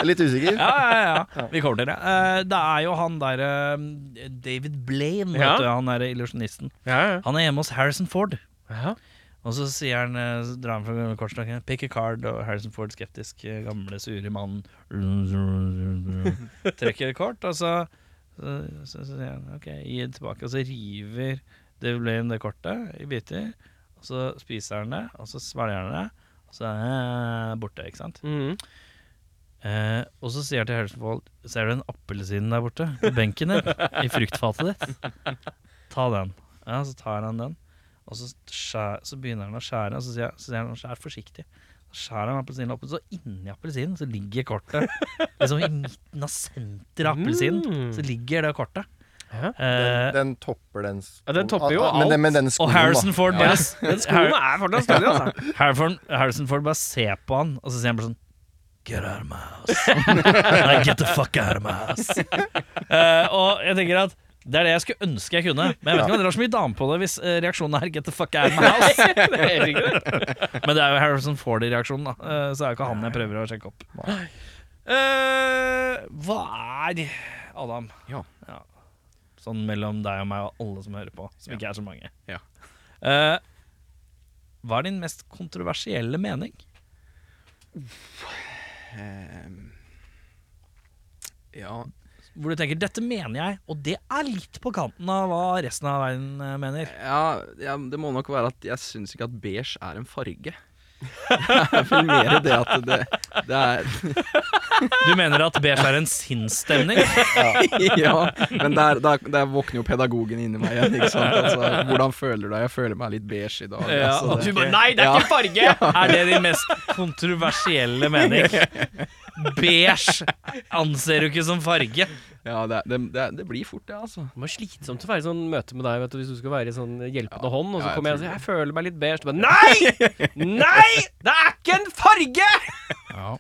S3: Jeg er litt usikker.
S1: ja, ja, ja. Vi kommer til det. Eh, det er jo han derre David Blaine,
S2: Ja.
S1: vet du, han derre illusjonisten.
S2: Ja, ja.
S1: Han er hjemme hos Harrison Ford.
S2: ja.
S1: Og så sier han, eh, så drar han fra kortstokken Pick a card, og Harrison Ford skeptisk eh, Gamle, sure mannen Trekker et kort Og så, så, så, så sier han Ok, gi det tilbake Og så river David Blaine det kortet I biter Og så spiser han det Og så svelger han det Og så er det borte, ikke sant?
S2: Mm.
S1: Eh, og så sier jeg til Harrison Ford Ser du den appelsinen der borte? På benken din? I fruktfatet ditt? Ta den. Ja, så tar han den. Og så, skjær, så begynner han å skjære, og så sier, jeg- så sier han skjær forsiktig. Så skjærer han appelsinen opp, og så inni appelsinen så ligger kortet. Liksom i midten av senteret av appelsinen
S2: Mm.
S1: så ligger det kortet.
S2: Ja.
S1: Eh,
S3: Den topper den skoen.
S2: Ja, den topper jo
S3: Ah, ah, men,
S2: alt.
S3: den- men den
S1: og
S3: skoen,
S1: Harrison
S3: da.
S1: Ford bare s-
S2: Den skoen er fortsatt stødig, altså.
S1: Harrison, Harrison Ford bare ser på han, og så sier han bare sånn Get out of my house. Nei, get the fuck out of my house. Eh, og jeg tenker at det er det jeg skulle ønske jeg kunne. Men jeg vet ikke om det er så mye dame på det hvis eh, reaksjonen er get the fuck out of my house.
S2: Det er helt riktig, det.
S1: Men det er jo Harrison Ford i reaksjonen, da. Eh, så er jo ikke han jeg prøver å sjekke opp. Eh, hva er Adam?
S4: Ja.
S1: Sånn mellom deg og meg og alle som hører på, som
S4: Ja.
S1: ikke er så mange.
S4: Ja.
S1: Eh, hva er din mest kontroversielle mening?
S4: Ehm, ja,
S1: hvor du tenker 'dette mener jeg', og det er litt på kanten av hva resten av verden eh, mener.
S4: ja, ja, det må nok være at jeg syns ikke at beige er en farge. Det er vel mer det at det, det er
S1: Du mener at beige er en sinnsstemning?
S4: Ja, men der, der, der våkner jo pedagogen inni meg igjen. Ikke sant? Altså, hvordan føler du deg? Jeg føler meg litt beige i dag.
S1: Ja,
S4: altså,
S1: og
S4: det.
S2: Du bare Nei, det er ikke farge!
S1: Er det din mest kontroversielle mening? Beige anser du ikke som farge.
S4: ja det, det, det, det blir fort det, altså.
S2: Det var slitsomt å være i sånn møte med deg vet du, hvis du skal være i sånn hjelpende
S4: Ja.
S2: hånd, og så
S4: Ja, jeg
S2: kommer jeg og
S4: tror
S2: sier 'jeg føler meg litt beige'. Du bare 'nei! Nei! Det er ikke en farge!
S1: Ja,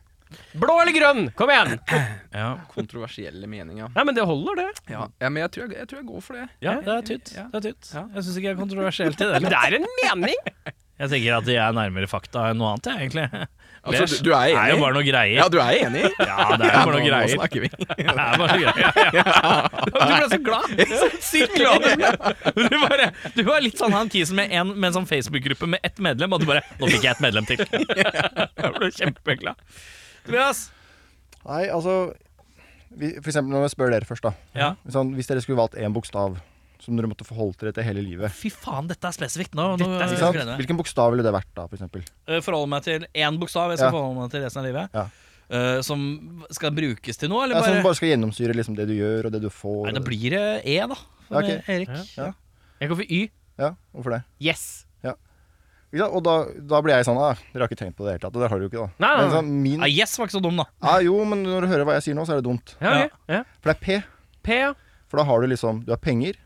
S2: Blå eller grønn? Kom igjen!
S1: ja.
S4: Kontroversielle meninger.
S2: Nei, men det holder, det.
S4: Ja, ja men jeg tror jeg, jeg tror jeg går for det.
S1: det er tynt.
S4: Ja.
S1: Det er tynt. Jeg syns ikke jeg er kontroversielt i
S2: Men
S1: det.
S2: det er en mening!
S1: Jeg tenker at jeg er nærmere fakta enn noe annet, jeg, egentlig.
S4: Altså,
S1: Beige
S4: du, du er
S1: Det er jo
S4: enig?
S1: bare noe
S4: Ja,
S1: greier.
S4: du er enig?
S1: Ja, det er jo bare noe
S4: nå, nå
S1: greier.
S4: snakker vi.
S1: Det er bare noe greier.
S2: Du ble så glad.
S1: Så Sykt glad du ble. Du, bare, du var litt sånn han kisen med en, med en sånn Facebook-gruppe med ett medlem, og du bare 'Nå fikk jeg et medlem til'. Jeg ble kjempeglad. Tobias?
S3: Nei, altså vi, For eksempel når jeg spør dere først, da.
S1: Ja.
S3: Sånn, hvis dere skulle valgt én bokstav som dere måtte forholde dere til hele livet,
S1: Fy faen, dette er spesifikt. Nå, nå
S2: Dette er
S3: ikke
S1: jeg
S3: sant?
S1: gleder meg.
S3: hvilken bokstav ville det vært da, for eksempel?
S1: Eh, Forholde meg til én bokstav jeg skal
S3: Ja.
S1: forholde meg til resten av livet.
S3: Ja.
S1: Eh, som skal brukes til noe, eller
S3: Ja,
S1: bare,
S3: som bare skal gjennomsyre liksom, det du gjør, og det du får.
S1: Nei,
S3: og
S1: da
S3: det-
S1: blir det E, da. For
S3: Ja, ok.
S1: Erik.
S3: Ja.
S2: Jeg går for Y.
S3: Ja, hvorfor det?
S2: Yes.
S3: Ikke sant? Og da, da blir jeg sånn ah, Dere har ikke tenkt på det i det hele tatt. Og det har dere jo ikke, da.
S2: Nei, nei,
S3: Men sånn, min,
S1: Ja, Ah, yes var ikke så dum, da.
S3: ja, jo, men når du hører hva jeg sier nå, så er det dumt.
S2: Ja, ok. ja.
S3: For det er P.
S2: P, ja.
S3: For da har du liksom Du har penger,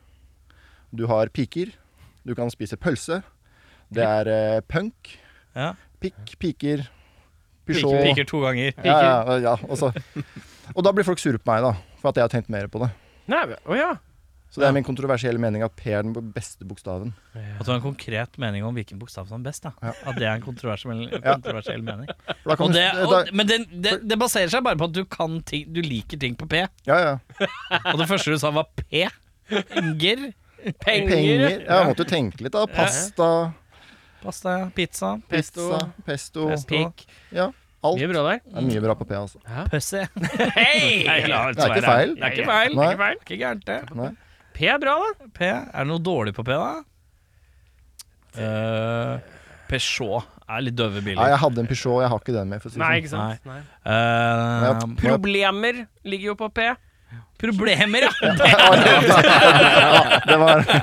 S3: du har piker, du kan spise pølse. Det er eh, punk,
S1: Ja.
S3: pikk, piker,
S1: Piker,
S3: Peugeot
S1: piker to ganger.
S3: Ja, ja, ja, og, så. og da blir folk sure på meg, da. For at jeg har tenkt mer på det.
S2: Nei, å ja.
S3: Så det er min kontroversielle mening at P er den beste bokstaven.
S1: At du har en konkret mening om hvilken bokstav som er best. da
S3: Ja.
S1: At det er en kontroversiell, kontroversiell mening.
S3: For da kan
S1: Og
S3: du-
S1: det,
S3: eh,
S1: og,
S3: da,
S1: men det, det, det baserer seg bare på at du, kan ting, du liker ting på P.
S3: ja, ja.
S1: Og det første du sa, var P. Inger.
S2: Penger!
S3: Penger. Ja, jeg måtte jo tenke litt, da. Pasta,
S1: Pasta, pizza,
S2: Pesto.
S3: pizza, pesto.
S1: Pesto.
S2: Pikk.
S3: Ja, alt.
S2: Mye bra der.
S3: Det er mye bra på P, altså.
S1: pussy.
S2: Hei!
S1: Det er ikke
S2: Det
S3: Det er ikke feil.
S2: er ikke feil. Det er ikke feil.
S1: Ikke gærent, det.
S3: Nei.
S2: P er bra, da.
S1: P. Er det noe dårlig på P, da? Eh, Peugeot er litt døve
S3: Nei,
S1: biler.
S3: jeg hadde en Peugeot, jeg har ikke den mer. For å si
S2: Nei,
S3: det sånn.
S2: ikke sant. Nei.
S1: Eh,
S3: Nei, jeg-
S2: Problemer ligger jo på P.
S1: problemer, ja!
S3: Ja, det var det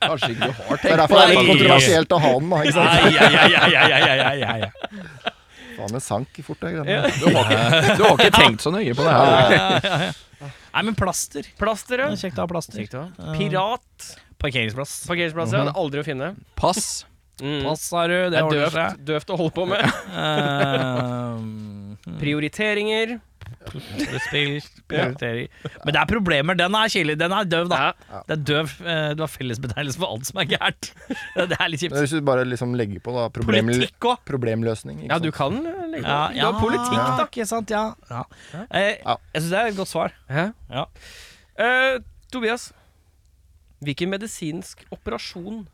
S4: Kanskje ikke du har
S3: er
S4: tenkt
S3: derfor det er litt
S1: Nei.
S3: kontroversielt å ha den, da. Ikke sant?
S1: Ai, ai, ai, ai, ai, ai, ai, ai, ai.
S3: Faen, det sank fort, det greiene.
S4: Du har ikke, du har ikke tenkt så nøye på det her.
S3: Ja, ja.
S1: Nei, men plaster.
S2: Plaster,
S1: Det er
S2: ja.
S1: Kjekt å ha plaster.
S2: Pirat.
S1: Parkeringsplass.
S2: Parkeringsplasser er det aldri å finne.
S4: Pass.
S2: Mm.
S1: Pass har du,
S2: Det er
S1: ordner Eh,
S2: døvt, døvt å holde på med.
S1: seg. Eh,
S2: Prioriteringer.
S1: Spill, prioritering. Men det er problemer. Den er kjedelig. Den er døv, da. Det er døv. eh, Du har fellesbetegnelse for alt som er gærent. Det er litt
S3: Men
S1: kjipt.
S3: Hvis du bare liksom legger på, da. Problem,
S1: Politikk òg.
S3: problemløsning. Ikke
S2: Ja, du
S3: sant?
S2: kan eh, legge
S1: Ja,
S2: på. Du har politikk, da.
S1: Ikke sant, ja. ja. Eh,
S3: Ja.
S1: jeg syns det er et godt svar. Ja.
S2: Eh, Tobias, hvilken medisinsk operasjon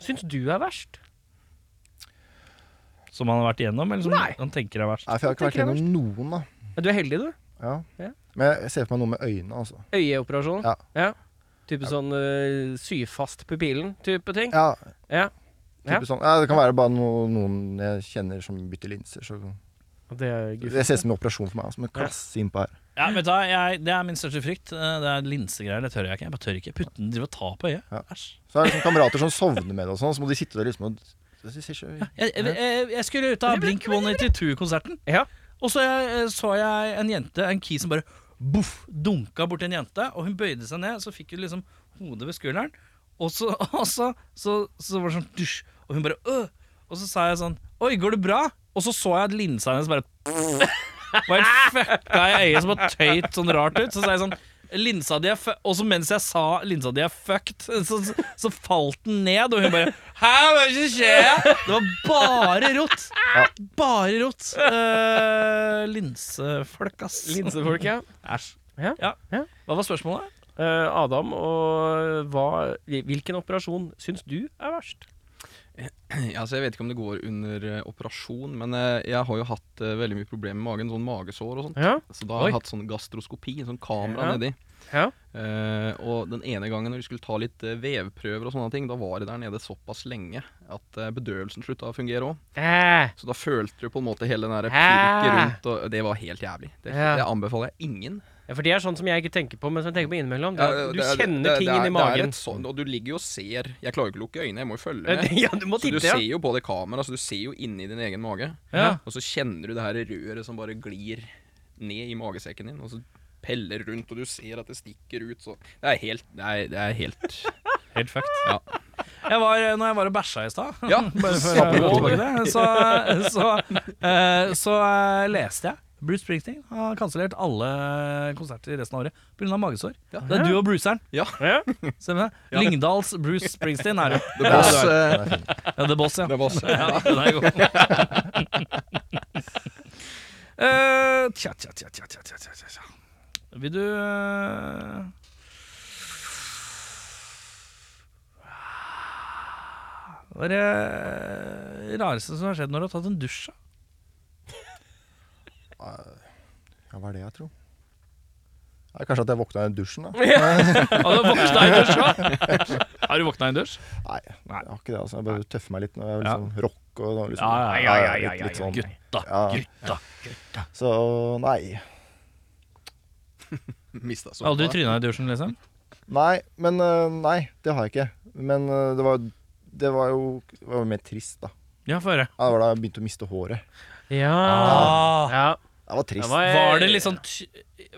S2: syns du er verst?
S1: Som han har vært igjennom, eller som
S2: Nei.
S1: han tenker er verst?
S3: Nei, for jeg har ikke vært
S2: Tenker jeg
S3: gjennom noen, da.
S2: Ja, Du er heldig, du. Ja.
S3: Ja. Men jeg ser for meg noe med øynene, altså.
S2: Øyeoperasjon.
S3: Ja.
S2: Type sånn eh, sy fast pupillen type ting.
S3: Ja,
S2: Ja.
S3: type
S2: Ja.
S3: Sånn. ja, det kan være bare no, noen jeg kjenner som bytter linser. Så.
S2: Det er
S3: Det ser ut som en operasjon for meg. Som en klass innpå her.
S1: Ja, vet du, hva, jeg, det er min største frykt. Eh, Det er linsegreier. Det tør jeg ikke. Jeg bare tør ikke. Putten driver og tar på øyet.
S3: Ja.
S1: Æsj.
S3: Så er det liksom kamerater som sovner med det, og sånn, så må de sitte der liksom og det ser ikke ut.
S1: Jeg, jeg, jeg, jeg skulle ut av Blink 182-konserten,
S2: Ja.
S1: og så eh, så jeg en jente, en key, som bare boff, dunka borti en jente. Og hun bøyde seg ned, så fikk hun liksom hodet ved skulderen. Og så, og så, så, så var det sånn dusj, og hun bare øh. Og så sa jeg sånn Oi, går det bra? Og så så jeg at linsa hennes bare var helt fucka i øyet, som bare tøyt sånn rart ut. Så sa jeg sånn Linsa di er fu- Og så mens jeg sa linsa di er fucked, så, så, så falt den ned, og hun bare Hæ, hva er det som skjer? Det var bare rot. Bare rot. Eh, linsefolk, ass.
S2: Linsefolk, ja.
S1: Æsj.
S2: Ja. Ja.
S1: Hva var spørsmålet?
S2: Eh, Adam, og hva, hvilken operasjon syns du er verst?
S4: Ja, så Altså, jeg vet ikke om det går under eh, operasjon, men eh, jeg har jo hatt eh, veldig mye problemer med magen, sånn magesår og sånt.
S2: Ja.
S4: Så da
S2: Oi.
S4: har jeg hatt sånn gastroskopi, sånn kamera
S2: Ja.
S4: nedi.
S2: Ja.
S4: Eh, og den ene gangen når vi skulle ta litt eh, vevprøver og sånne ting, da var jeg der nede såpass lenge at eh, bedøvelsen slutta å fungere òg.
S2: Eh,
S4: Så da følte du på en måte hele den der
S2: Hæ?
S4: pirket rundt, og det var helt jævlig. Det,
S2: Ja.
S4: det anbefaler jeg ingen.
S2: ja, for det er sånn som jeg ikke tenker på, men som jeg tenker på innimellom. Det
S4: Ja,
S2: er, du
S4: det er- det
S2: kjenner
S4: er-
S2: ting
S4: det er-
S2: inn i
S4: Det er
S2: magen.
S4: et sånn, og du ligger jo og ser. Jeg klarer jo ikke å lukke øynene, jeg må jo følge med.
S2: Ja, du må
S4: Så du
S2: titte, ja.
S4: ser jo på det kameraet, så du ser jo inni din egen mage.
S2: Ja.
S4: Og så kjenner du det her røret som bare glir ned i magesekken din, og så peller rundt, og du ser at det stikker ut, så Det er helt Det er, det er helt
S1: Helt fucked.
S4: Ja.
S1: Jeg var, eh, når jeg var og bæsja i stad,
S4: ja.
S1: bare for å
S4: Snakker
S1: gå
S4: om
S1: tilbake
S4: det.
S1: til det, så, så, eh, så eh, leste jeg Bruce Springsteen har kansellert alle konserter resten av året pga. magesår.
S4: Ja.
S1: Det er du og bruceren.
S4: Ja.
S2: Ja.
S1: Stemmer det? Lyngdals Bruce Springsteen er det.
S4: The Boss. eh,
S1: Ja, The Boss, ja.
S4: The Boss.
S1: Ja, den er god. Eh, tja, tja, tja, tja, tja, tja, tja, tja, tja. Vil du eh, Hva er det rareste som har skjedd når du har tatt en dusj? da?
S3: Ja, hva er det jeg tror? Ja, kanskje at jeg våkna i dusjen, da.
S1: Har du våkna i dusj? da? Har du våkna i en dusj?
S3: Nei, jeg har ikke det. altså Jeg bare tøffer meg litt når jeg er liksom rock og liksom,
S1: Ja, ja, ja,
S3: litt- litt sånn.
S1: Gutta,
S3: Ja.
S1: gutta.
S3: Så nei.
S4: Mista sånn.
S1: Aldri tryna i dusjen, liksom?
S3: Nei, men øh, Nei, det har jeg ikke. Men øh, det var, det var jo det var jo mer trist, da.
S1: Ja, få høre.
S3: Ja, Det var da jeg begynte å miste håret.
S2: Ja. ja.
S3: Det var
S2: Det
S3: trist.
S2: var-
S1: Ah. Var det litt sånn ty-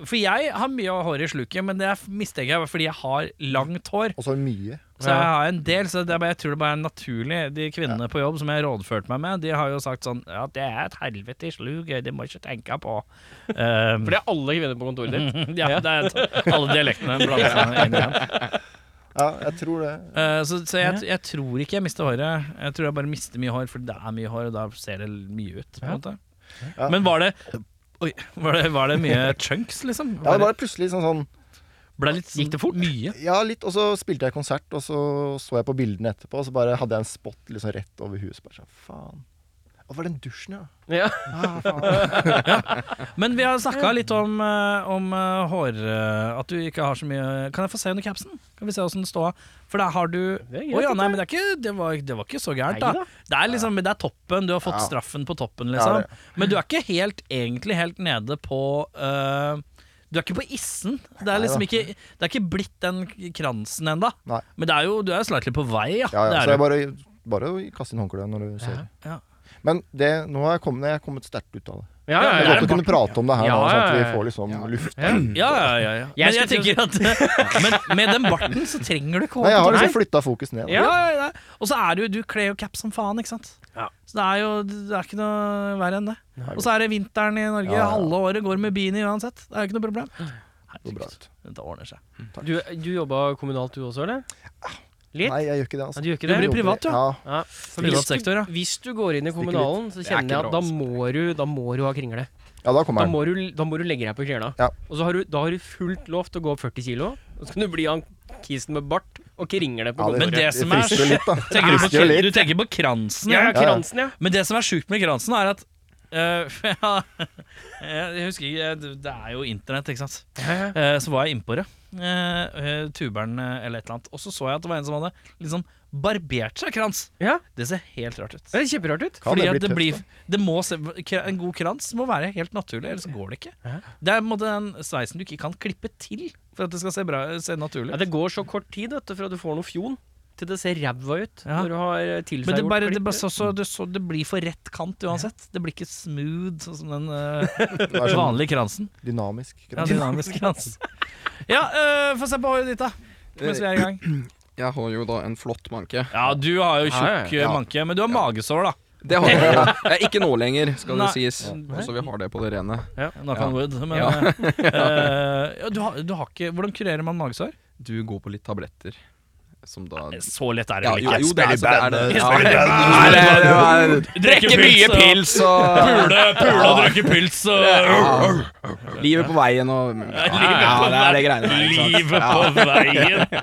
S1: For jeg har mye av håret i sluket, men det er- mistenker jeg var fordi jeg har langt hår.
S3: Og så mye.
S1: Så jeg har en del, så det er bare, jeg tror det bare er naturlig. De kvinnene på jobb som jeg rådførte meg med, de har jo sagt sånn Ja, det er et helvete i sluket, det må ikke tenke på. Um,
S2: For det er alle kvinner på kontoret ditt.
S1: ja, det er alle dialektene blander seg inn igjen.
S3: Ja, jeg tror det.
S1: Eh, så så jeg, jeg tror ikke jeg mister håret. Jeg tror jeg bare mister mye hår, fordi det er mye hår, og da ser det mye ut. På en måte.
S3: Ja.
S1: Men var det Oi, var det, var det mye chunks, liksom?
S3: Ja, det var plutselig sånn sånn
S1: Ble litt,
S2: Gikk det fort?
S1: Mye.
S3: Ja, litt. Og så spilte jeg konsert, og så så jeg på bildene etterpå, og så bare hadde jeg en spot liksom rett over huet. Så bare sånn, faen. Å, var den dusjen, ja.
S2: Ja.
S3: Ah, faen.
S1: Men vi har snakka litt om, eh, om eh, hår eh, At du ikke har så mye Kan jeg få se under capsen? Kan vi se åssen det står For der har du
S2: Det er
S1: Å
S2: greit,
S1: ja, nei,
S2: dette.
S1: men det, er ikke, det, var, det var ikke så
S2: Nei
S1: gærent,
S2: da.
S1: da. Det er liksom Det er toppen. Du har fått
S3: Ja.
S1: straffen på toppen,
S3: Ja,
S1: liksom.
S3: det-
S1: Men du er ikke helt, egentlig helt nede på eh, Du er ikke på issen. Det er liksom
S3: Nei
S1: ikke Det er ikke blitt den kransen ennå.
S3: Nei.
S1: Men det er jo, du er jo slightly på vei, ja.
S3: Ja,
S1: Det
S3: ja.
S1: er
S3: Så jeg
S1: du.
S3: bare, bare kast inn håndkleet når du ser.
S1: Ja.
S3: Men det, nå har jeg kommet, jeg har kommet sterkt ut av det.
S1: Ja,
S2: Ja, ja,
S3: Det
S1: det
S3: er
S2: ja.
S3: godt å kunne prate om det her
S2: Ja,
S3: nå, sånn at
S2: ja,
S3: vi
S2: ja.
S3: får liksom luft.
S2: Ja.
S1: Ja, ja, ja, ja.
S2: Jeg
S1: Men jeg tenker at Men med den barten så trenger du ikke
S3: Nei, jeg har
S1: hår.
S3: liksom flytta fokus ned. da.
S1: Ja, ja, ja. Og så er det jo, du kler jo caps som faen, ikke sant?
S2: Ja.
S1: Så det er jo det er ikke noe verre enn det. Og så er det vinteren i Norge,
S3: Ja, ja.
S1: halve året går med beanie uansett. Det er jo ikke noe problem.
S3: går bra
S1: Herregud,
S3: ut.
S1: det ordner seg.
S2: Du, du jobba kommunalt du også, eller? Litt?
S3: Nei, jeg gjør ikke det,
S2: Ja,
S3: altså.
S2: du gjør ikke
S1: Du
S2: det?
S1: blir privat, du.
S3: Ja.
S2: Ja.
S1: Privat
S2: Hvis du-
S1: sektor, ja.
S2: Hvis du går inn i
S3: Stikker
S2: kommunalen, så
S4: Det er
S2: kjenner
S4: ikke
S2: jeg at da
S4: bra, altså.
S2: må du, da må du ha kringle.
S3: ja, da
S2: Da
S3: kommer den.
S2: må du, da må du legge deg på kringle.
S3: Ja.
S2: Og så har du, da har du fullt lov til å gå opp 40 kilo. Og så kan du bli han kisen med bart og kringle på
S3: Ja,
S1: Men
S2: kontoret.
S1: det som er
S3: frister jo litt, da.
S1: Tenker du,
S3: frister jo
S1: på,
S3: litt.
S1: du tenker på kransen,
S2: Ja,
S1: ja.
S2: ja, kransen, ja.
S1: Men det som er sjukt med kransen, er at øh, for jeg har- Jeg husker ikke Det er jo internett, ikke sant.
S2: ja.
S1: Eh, Så var jeg innpå det. Eh, eh, Tuberen eh, eller et eller annet. Og så så jeg at det var en som hadde liksom barbert seg krans.
S2: ja.
S1: Det ser helt rart ut.
S2: Det ser kjemperart ut.
S3: Kan
S1: Fordi
S3: det
S1: at
S3: bli
S1: det
S3: tøft,
S1: blir, det må se, kra- En god krans må være helt naturlig, ellers går det ikke.
S2: Ja.
S1: Det er på en måte den sveisen du ikke kan klippe til for at det skal se, bra, se naturlig
S2: Ja,
S1: ut.
S2: det går så kort tid vet du, fra du får noe fjon, til det ser ræva ut.
S1: Ja.
S2: Når du har tilseggjort
S1: Men det, bare, det, Mm.
S2: klippet.
S1: bare, så, så, det, så, det blir for rett kant uansett. Det blir ikke smooth, sånn som den eh,
S3: Det er sånn
S1: vanlige kransen.
S3: dynamisk.
S1: Ja, dynamisk krans. Ja, eh, få se på håret ditt, da. Mens vi er i gang.
S4: Jeg har jo da en flott manke.
S1: Ja, du har jo tjukk
S3: Ja.
S1: eh, manke, men du har magesår, da.
S4: Det har jeg. jo. Jeg er ikke nå lenger, skal det
S1: Nei.
S4: sies. Så vi har det på det rene.
S1: Knock
S4: Ja.
S1: on wood. Men,
S4: Ja.
S1: eh, eh, ja, du, har, du har ikke Hvordan kurerer man magesår?
S4: Du går på litt tabletter. Som da
S1: Så lett er det
S4: Ja,
S1: vel
S4: jo,
S1: ikke.
S4: jo, det er, så det er det. Ja,
S1: Spiller
S4: det er- det er- det er- Drikke mye pils og
S1: Pule, pule og drikke pils og
S4: Ja. Livet på veien og Ja, ja det er det greiene der. ikke sant?
S1: Livet på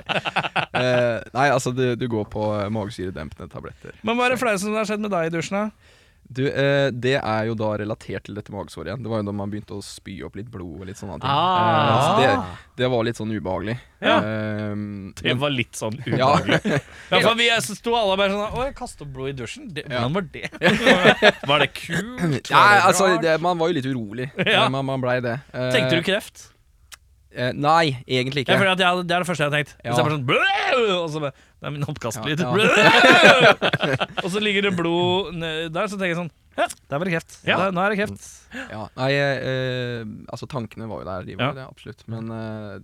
S1: veien.
S4: Eh, Nei, altså, du, du går på eh, magesyredempende tabletter.
S1: Men hva er det flaue som har skjedd med deg i dusjen? da?
S4: Du, eh, det er jo da relatert til dette magesåret igjen. Det var jo da man begynte å spy opp litt blod og litt sånne ting.
S2: Ah.
S4: Eh, altså, det, det var litt sånn ubehagelig.
S2: Ja.
S4: Eh,
S1: Det var litt sånn ubehagelig.
S4: ja,
S1: Ja, for vi jeg sto alle bare sånn Å, jeg kastet blod i dusjen. Det,
S4: Ja.
S1: Hvordan var det? Var det kult? Var det
S4: Nei, altså,
S1: rart?
S4: det, man var jo litt urolig.
S1: Ja.
S4: Eh, Man, man blei det. Eh,
S1: Tenkte du kreft?
S4: Eh, nei, egentlig
S1: Jeg
S4: ikke.
S1: føler at jeg, Det er det første jeg har tenkt. Hvis
S4: Ja.
S1: jeg bare sånn «Blæh!» Og så bare Det er min oppkastlyd.
S4: Ja,
S1: og så ligger det blod ned der, så tenker jeg sånn Ja, der var det kreft.
S2: Ja.
S1: Der, nå er det kreft.
S4: Ja, nei, eh, eh, altså tankene var jo der, de var
S1: Ja.
S4: jo det, absolutt. Men eh,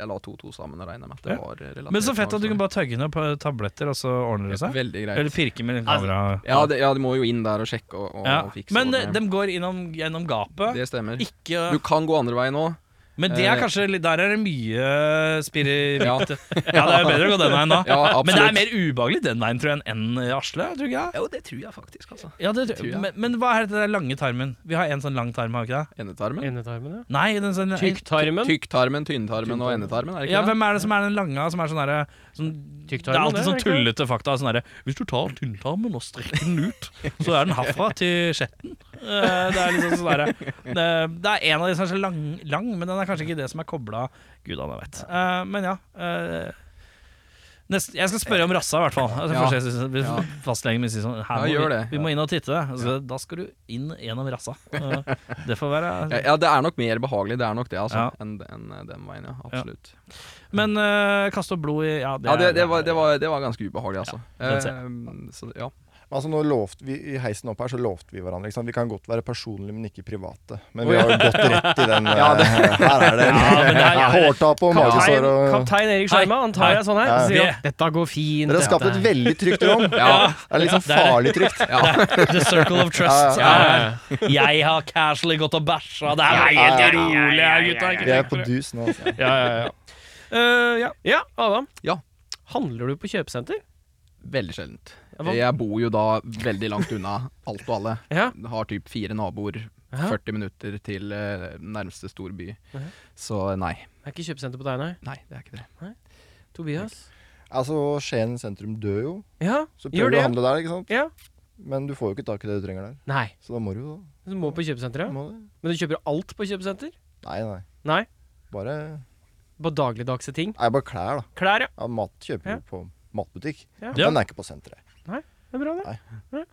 S4: jeg la to og to sammen og regna med at det
S1: Ja.
S4: var relatert.
S1: Men så fett
S4: til
S1: at du kan
S4: magesår.
S1: bare tøgge ned på tabletter, og så ordner det seg.
S4: Veldig greit.
S1: Eller pirke med kamera.
S4: Ja, det, ja, du må jo inn der og sjekke og, og,
S1: Ja.
S4: og fikse.
S1: Men eh,
S4: ordentlig.
S1: de går innom, gjennom gapet.
S4: det stemmer.
S1: Ikke
S4: Du kan gå andre veien òg.
S1: Men det er
S4: eh,
S1: kanskje litt- Der er det mye spirrit. Ja.
S4: Ja.
S1: det er bedre å gå den veien da.
S4: Ja, absolutt.
S1: men det er mer ubehagelig den veien, tror jeg, enn eh, Asle. Tror du ikke det?
S4: Jo, det tror jeg faktisk, altså.
S1: Ja, det,
S4: Tror jeg.
S1: men, men hva er det der lange tarmen? Vi har en sånn lang tarm, har vi ikke det?
S4: Endetarmen?
S2: Endetarmen, ja.
S1: Nei, den sånn
S2: Tykktarmen.
S4: Tykktarmen, tynntarmen og endetarmen, er det ikke
S1: Ja,
S4: det?
S1: hvem er det som er den lange som er sånn derre sånn, Det er
S2: Tykktarmen,
S1: alltid
S2: det,
S1: sånn
S2: er det
S1: tullete fakta. Sånn derre Hvis du tar tynntarmen og strekker den ut, så er den herfra til skjetten. Eh, Det er liksom sånn derre eh, Det er en av de som er så lang, lang men den er kanskje ikke det som er kobla Gudene vet. Eh, Men ja. eh, nest- jeg skal spørre om rassa, i hvert fall. Altså,
S4: Ja.
S1: først jeg synes- hvis
S4: Ja.
S1: Fastlegen min sier sånn her
S4: Ja,
S1: må
S4: gjør
S1: vi,
S4: det.
S1: vi må inn og titte. Altså, Da skal du inn gjennom rassa. Eh, Det får være
S4: Ja, ja, det er nok mer behagelig, det er nok det, altså,
S1: Ja.
S4: enn enn, eh, den veien, ja. Absolutt.
S1: Men eh, kaste opp blod i Ja, det,
S4: Ja, det,
S1: er-
S4: det, var, det, var, det var ganske ubehagelig, altså.
S1: den ser
S4: Eh, så, ja.
S3: Altså nå lovte vi, I heisen opp her så lovte vi hverandre. Ikke sant? Vi kan godt være personlige, men ikke private. Men vi har jo gått rett i den
S4: Ja, det-
S3: eh, Her er det,
S1: Ja, men det er-
S3: hårtap og magesår
S2: Kaptein,
S3: og
S2: kaptein Erik Skjerma, han tar deg sånn her.
S3: Ja.
S2: og Sier, at, Dette går fint.
S3: Dere har skapt et
S2: dette-
S3: veldig trygt rom.
S4: Ja.
S3: Det er litt sånn
S1: Ja, det er det.
S3: farlig trygt.
S1: The circle of trust.
S3: Ja,
S1: er, Jeg har casually gått og bæsja. Det er
S3: ja, ja,
S1: helt rolig her, gutta.
S3: Vi er på dus nå. Altså.
S1: Ja, ja, ja.
S2: Eh, ja. ja, Adam.
S4: Ja.
S2: Handler du på kjøpesenter?
S4: Veldig sjeldent.
S2: Ja, hva-
S4: Jeg bor jo da veldig langt unna alt og alle.
S2: Ja.
S4: Har typ fire naboer
S2: Jaha.
S4: 40 minutter til eh, nærmeste storby.
S2: Jaha.
S4: Så eh, nei.
S2: Det er ikke kjøpesenter på deg, nei?
S4: Nei, det er ikke det.
S2: Tobias?
S3: Altså, Skien sentrum dør jo.
S2: Ja,
S3: Så
S2: gjør
S3: prøver du å
S2: det.
S3: handle der, ikke sant?
S2: Ja.
S3: Men du får jo ikke tak i det du trenger der.
S2: Nei.
S3: Så da må du jo da.
S2: Du må på kjøpesenteret.
S3: Må du.
S2: Men du kjøper alt på kjøpesenter?
S3: Nei, nei.
S2: Nei.
S3: Bare,
S2: På dagligdagse ting?
S3: nei, bare klær, da.
S2: Klær, ja.
S3: Ja, mat kjøper
S2: Ja.
S3: du på matbutikk.
S2: Ja.
S1: Ja.
S3: Den er ikke på senteret.
S2: Det er bra, det.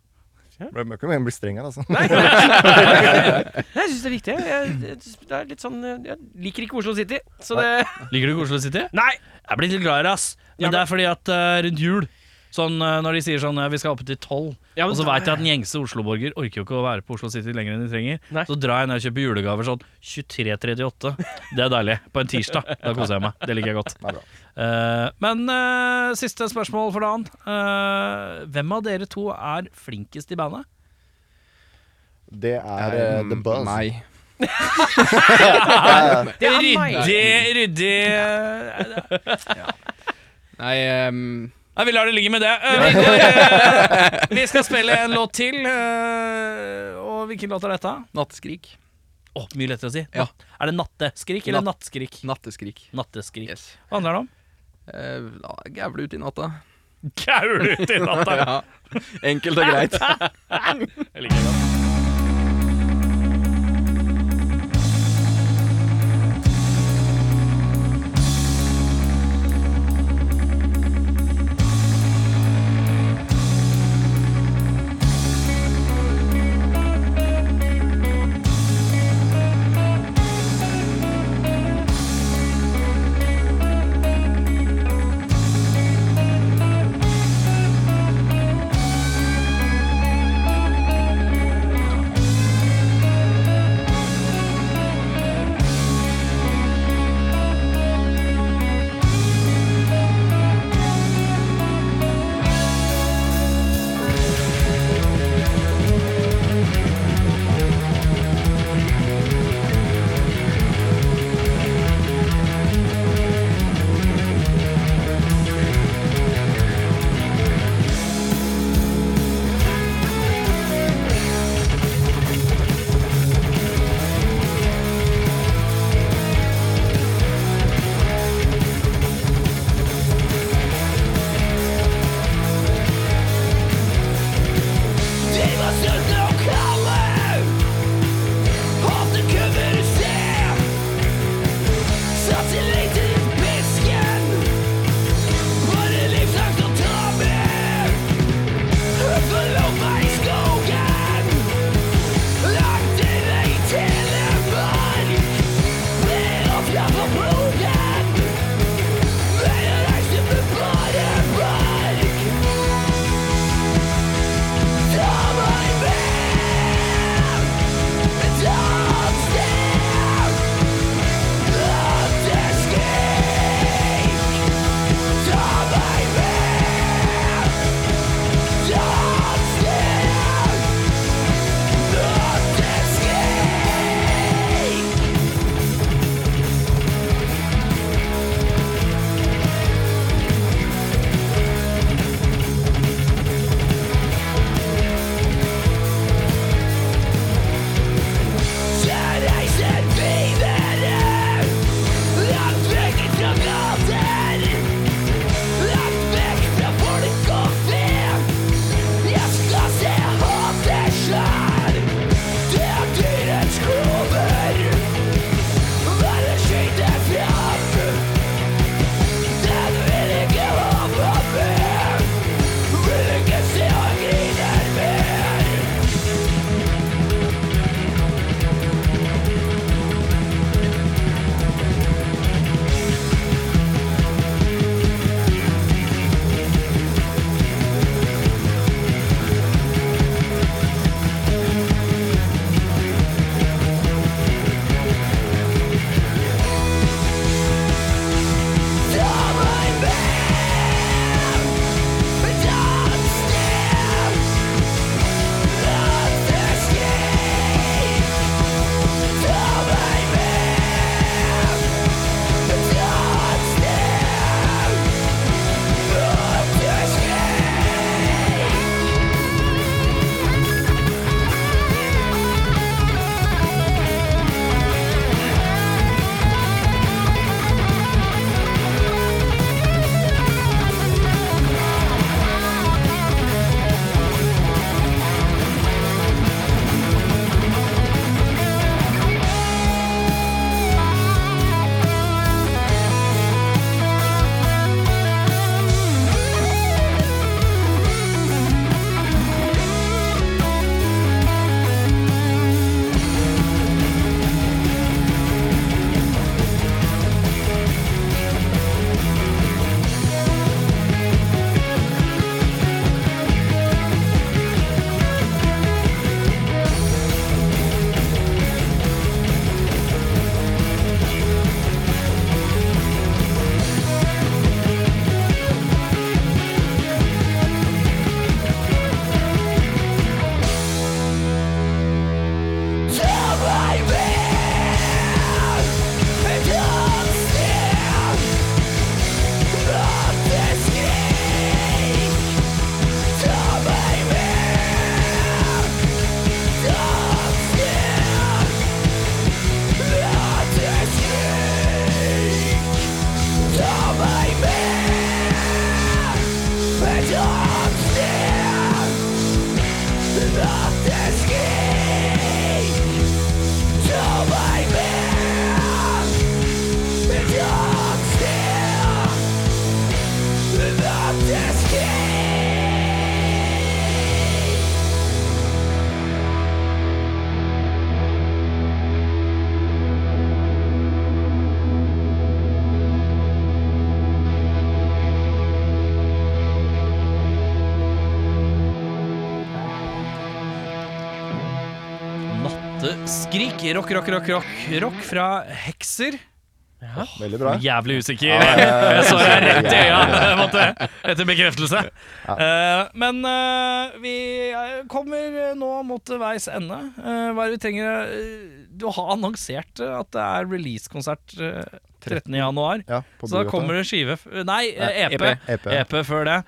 S3: Det må ikke mene å bli streng her, altså.
S2: Nei. jeg syns det er viktig. Jeg, jeg- det er litt sånn Jeg liker ikke Oslo City, så det
S1: Liker du Oslo City?
S2: Nei!
S1: Jeg blir litt glad i det, ass. Men
S2: Ja, men-
S1: det er fordi at eh, rundt jul Sånn, eh, Når de sier sånn eh, vi skal opp til tolv,
S2: Ja, men
S1: og så
S2: da-
S1: veit jeg at den gjengse Oslo-borger orker jo ikke å være på Oslo City lenger enn de trenger,
S2: Nei.
S1: så drar jeg ned og kjøper julegaver sånn 23.38. Det er deilig. På en tirsdag. Da koser jeg meg. Det liker jeg godt.
S3: Det er bra.
S1: Eh, men eh, siste spørsmål for dagen. Eh, hvem av dere to er flinkest i bandet?
S3: Det er eh, The
S4: Mm,
S3: Buzz.
S4: Nei.
S2: Det er meg.
S1: Ryddig, ryddig eh,
S4: Nei, ehm,
S1: Nei, vi lar det ligge med det. Eh, Vi, går, eh, vi skal spille en låt til. eh, og hvilken låt er dette?
S4: natteskrik.
S1: Åh, mye lettere å si.
S4: Ja.
S1: Natt- Er det natteskrik eller
S4: Natt-
S1: nattskrik?
S4: Natteskrik.
S1: Natteskrik.
S4: Yes.
S1: Hva handler det om?
S4: Eh, la- Gævle ut i natta.
S1: Gaule ut i natta.
S4: Ja. Enkelt og greit.
S1: Jeg liker det.
S5: Come on, man!
S1: låte 'Skrik'. Rock, rock, rock, rock. Rock fra Hekser.
S3: Veldig bra. Eh,
S1: Jævlig usikker.
S3: Ja, ja, ja.
S1: Jeg så deg rett i øya jeg måtte, etter bekreftelse. Eh, men eh, vi eh, kommer nå mot veis ende. Eh, hva er det vi trenger? eh, Du har annonsert eh, at det er releasekonsert eh, 13. januar.
S3: Ja, på E
S1: Så da
S3: Bugata.
S1: kommer det skive f- Nei, eh, EP.
S4: EP.
S3: EP.
S1: EP før det.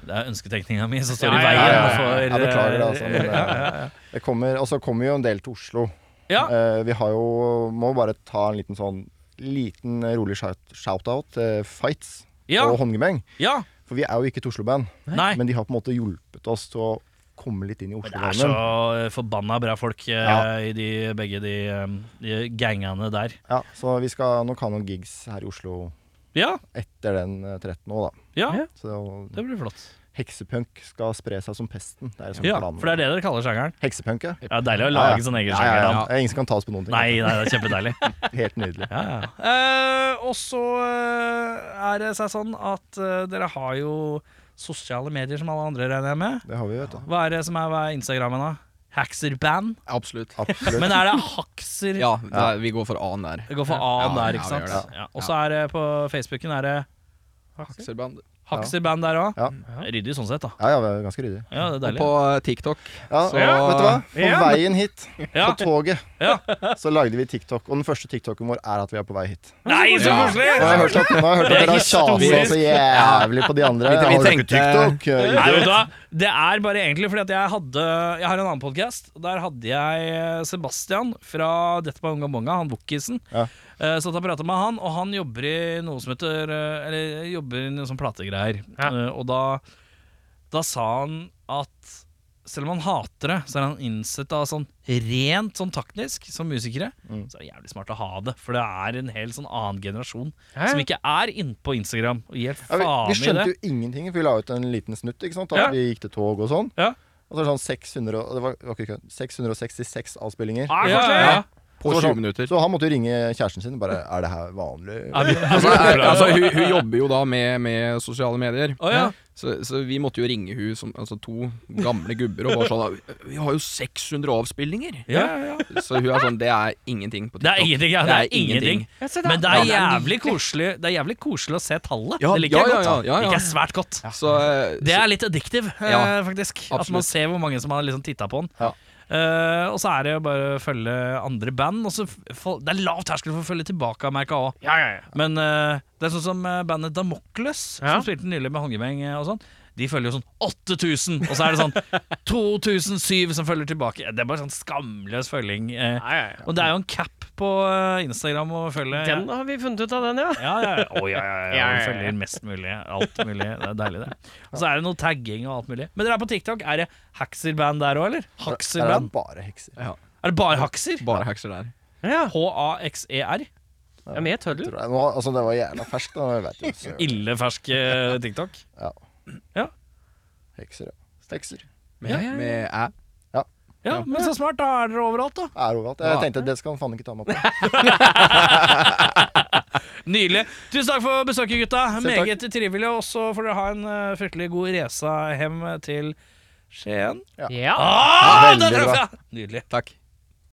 S1: Det er ønsketenkninga mi som står
S2: Ja,
S1: i
S2: ja,
S1: veien
S2: ja, ja, ja.
S1: for
S3: Jeg beklager det, altså.
S1: eh,
S3: Men,
S1: ja, ja,
S3: eh, det kommer, og så kommer jo en del til Oslo.
S1: ja.
S3: Eh, vi har jo Må bare ta en liten sånn Liten eh, rolig shout- shout-out til Fights
S1: Ja.
S3: og Håndgemeng.
S1: ja.
S3: For vi er jo ikke et Oslo-band,
S1: Nei.
S3: men de har på en måte hjulpet oss til å komme litt inn i
S1: Det er så
S3: Oslo-verdenen.
S1: eh, forbanna bra folk eh,
S3: Ja.
S1: i de, begge de, eh, de gangene der.
S3: Ja, så vi skal nok ha noen gigs her i Oslo
S1: Ja,
S3: etter den eh, 13. òg, da.
S1: ja,
S2: Ja.
S3: Så
S1: det blir flott.
S3: heksepunk skal spre seg som pesten. Det er liksom
S1: Ja,
S3: planen.
S1: for det er det dere kaller sjangeren.
S3: Heksepunk, ja.
S1: Ja, Deilig å
S3: Ja,
S1: lage
S3: ja.
S1: sånn egen
S3: Ja, ja,
S1: sjanger.
S3: ja.
S1: da.
S3: Ingen som kan tas på noen ting.
S1: Nei, nei, det er kjempedeilig.
S3: Helt nydelig.
S1: Ja, ja. Eh, og så eh, er det seg sånn at eh, dere har jo sosiale medier som alle andre, regner jeg med.
S3: Det har vi, vet du.
S1: Hva er det som er hva er Instagrammen, da? Haxerband?
S4: Absolutt.
S3: Absolutt.
S1: Men er det Haxer?
S4: Ja, der, vi går for A-en der.
S1: Det går for A-en
S4: Ja,
S1: der,
S4: ja,
S1: ikke
S4: vi
S1: sant?
S4: gjør det.
S1: Ja. Og så er det på Facebooken er det
S4: Akselband.
S1: Haxerband der òg.
S3: Ja.
S1: Ryddig sånn sett, da.
S3: Ja, ja, vi er ganske ryddig.
S1: Ja, det er
S4: Og
S1: deilig.
S4: på eh, TikTok
S3: Ja,
S4: Så-
S3: Vet du hva? På
S2: Ja.
S3: veien hit,
S1: Ja.
S3: på toget,
S1: Ja.
S3: så lagde vi TikTok. Og den første TikToken vår er at vi er på vei hit.
S1: Nei, så
S4: Ja.
S1: koselig!
S3: Og jeg har hørt at, nå har jeg hørt at dere har
S1: Det
S3: kjasa
S1: er
S3: så jævlig på de andre.
S4: Vi- vi
S3: Har dere ikke
S4: tenkte-
S3: TikTok?
S1: Nei,
S3: Eh,
S1: vet
S3: idiot?
S1: du hva? Det er bare egentlig fordi at jeg hadde Jeg har en annen podkast. Der hadde jeg eh, Sebastian fra Dette på Unga Bonga, han vokkisen.
S3: Ja.
S1: Eh, Så jeg prata med han, og han jobber i noe som heter eh, Eller jobber i noe sånn plategreier.
S2: Ja.
S1: Eh, Og da, da sa han at selv om han hater det, så er han innsett av sånn rent sånn taktisk, som musikere,
S3: Mm.
S1: så er det jævlig smart å ha det. For det er en hel sånn annen generasjon
S2: Ja, ja.
S1: som ikke er inne på Instagram og gir
S3: Ja,
S1: faen
S3: vi, vi
S1: i det.
S3: skjønte jo ingenting, for vi la ut en liten snutt. Ikke sant? At
S1: Ja.
S3: vi gikk til tog og sånn.
S1: Ja.
S3: Og så er det sånn 600, og- det var, det var ikke kødd, 666 avspillinger.
S2: Ah,
S1: Ja,
S2: koselig.
S1: ja, ja.
S4: på
S3: Så var det
S4: 20
S3: sånn-
S4: minutter.
S3: Så han måtte jo ringe kjæresten sin. Bare Er det her vanlig?
S1: Ja, vi-
S4: Altså, er, altså hun, hun jobber jo da med, med sosiale medier,
S1: Å, ja.
S4: så, så vi måtte jo ringe hun som altså, to gamle gubber og bare sånn Vi har jo 600 avspillinger!
S1: Ja, ja, ja.
S4: Så hun er sånn Det er ingenting på TikTok.
S1: Det er ingenting, ja. Det er ingenting.
S2: Ja, se der.
S1: Men det er
S4: Ja, det er
S1: jævlig koselig Det er jævlig koselig å se tallet.
S4: Ja,
S1: det liker jeg
S4: ja,
S1: godt. da.
S4: ja, ja, ja.
S1: Liker jeg svært godt.
S4: Så, eh,
S1: Det er litt addictive, eh,
S4: Ja,
S1: faktisk. At man
S4: absolutt.
S1: ser hvor mange som har liksom titta på den.
S3: Ja.
S1: Eh, og så er det jo bare å følge andre band. Og så f- få- det er lav terskel for å følge tilbake, merka òg.
S2: Ja, ja, ja.
S1: Men eh, det er sånn som eh, bandet Damocles,
S2: Ja.
S1: som spilte nylig med Hongemeng eh, og sånn. De følger jo sånn 8000, og så er det sånn 2007 som følger tilbake. Det er bare sånn skamløs følging. eh.
S2: Ja, ja, ja.
S1: Og det er jo en cap på eh, Instagram å følge.
S2: Den har vi funnet ut av, den, ja.
S1: Ja, ja, ja. Å, ja, ja, ja.
S2: Ja, ja, ja.
S1: Vi følger mest mulig. Alt mulig. Det er deilig, det. Og så er det noe tagging og alt mulig. Men dere er på TikTok. Er det Haxerband der òg, eller?
S3: Der er det
S1: Haxerband?
S3: bare hekser.
S4: ja,
S1: Er det bare Haxer?
S4: bare hekser der.
S2: Ja,
S1: H-a-x-e-r.
S2: ja Med
S3: Tror
S2: tøddel.
S3: jeg. Nå, altså, det var jævla ferskt. da, Jeg vet jo. søren.
S1: Ille fersk eh, TikTok.
S3: Ja.
S1: Ja.
S3: Hekser, ja. Hekser.
S4: Med,
S1: Ja, ja, ja.
S4: med æ.
S1: Ja, men så smart. Da er dere overalt, da.
S3: Er overalt.
S4: Ja.
S3: Jeg tenkte det skal han faen ikke ta meg på.
S1: Nydelig. Tusen takk for besøket, gutta.
S3: takk.
S1: Meget trivelig. Og så får dere ha en eh, fryktelig god reise hjem til Skien.
S2: Ja.
S1: Ah, der
S3: Veldig
S1: traff
S3: bra.
S1: jeg! Nydelig.
S4: Takk.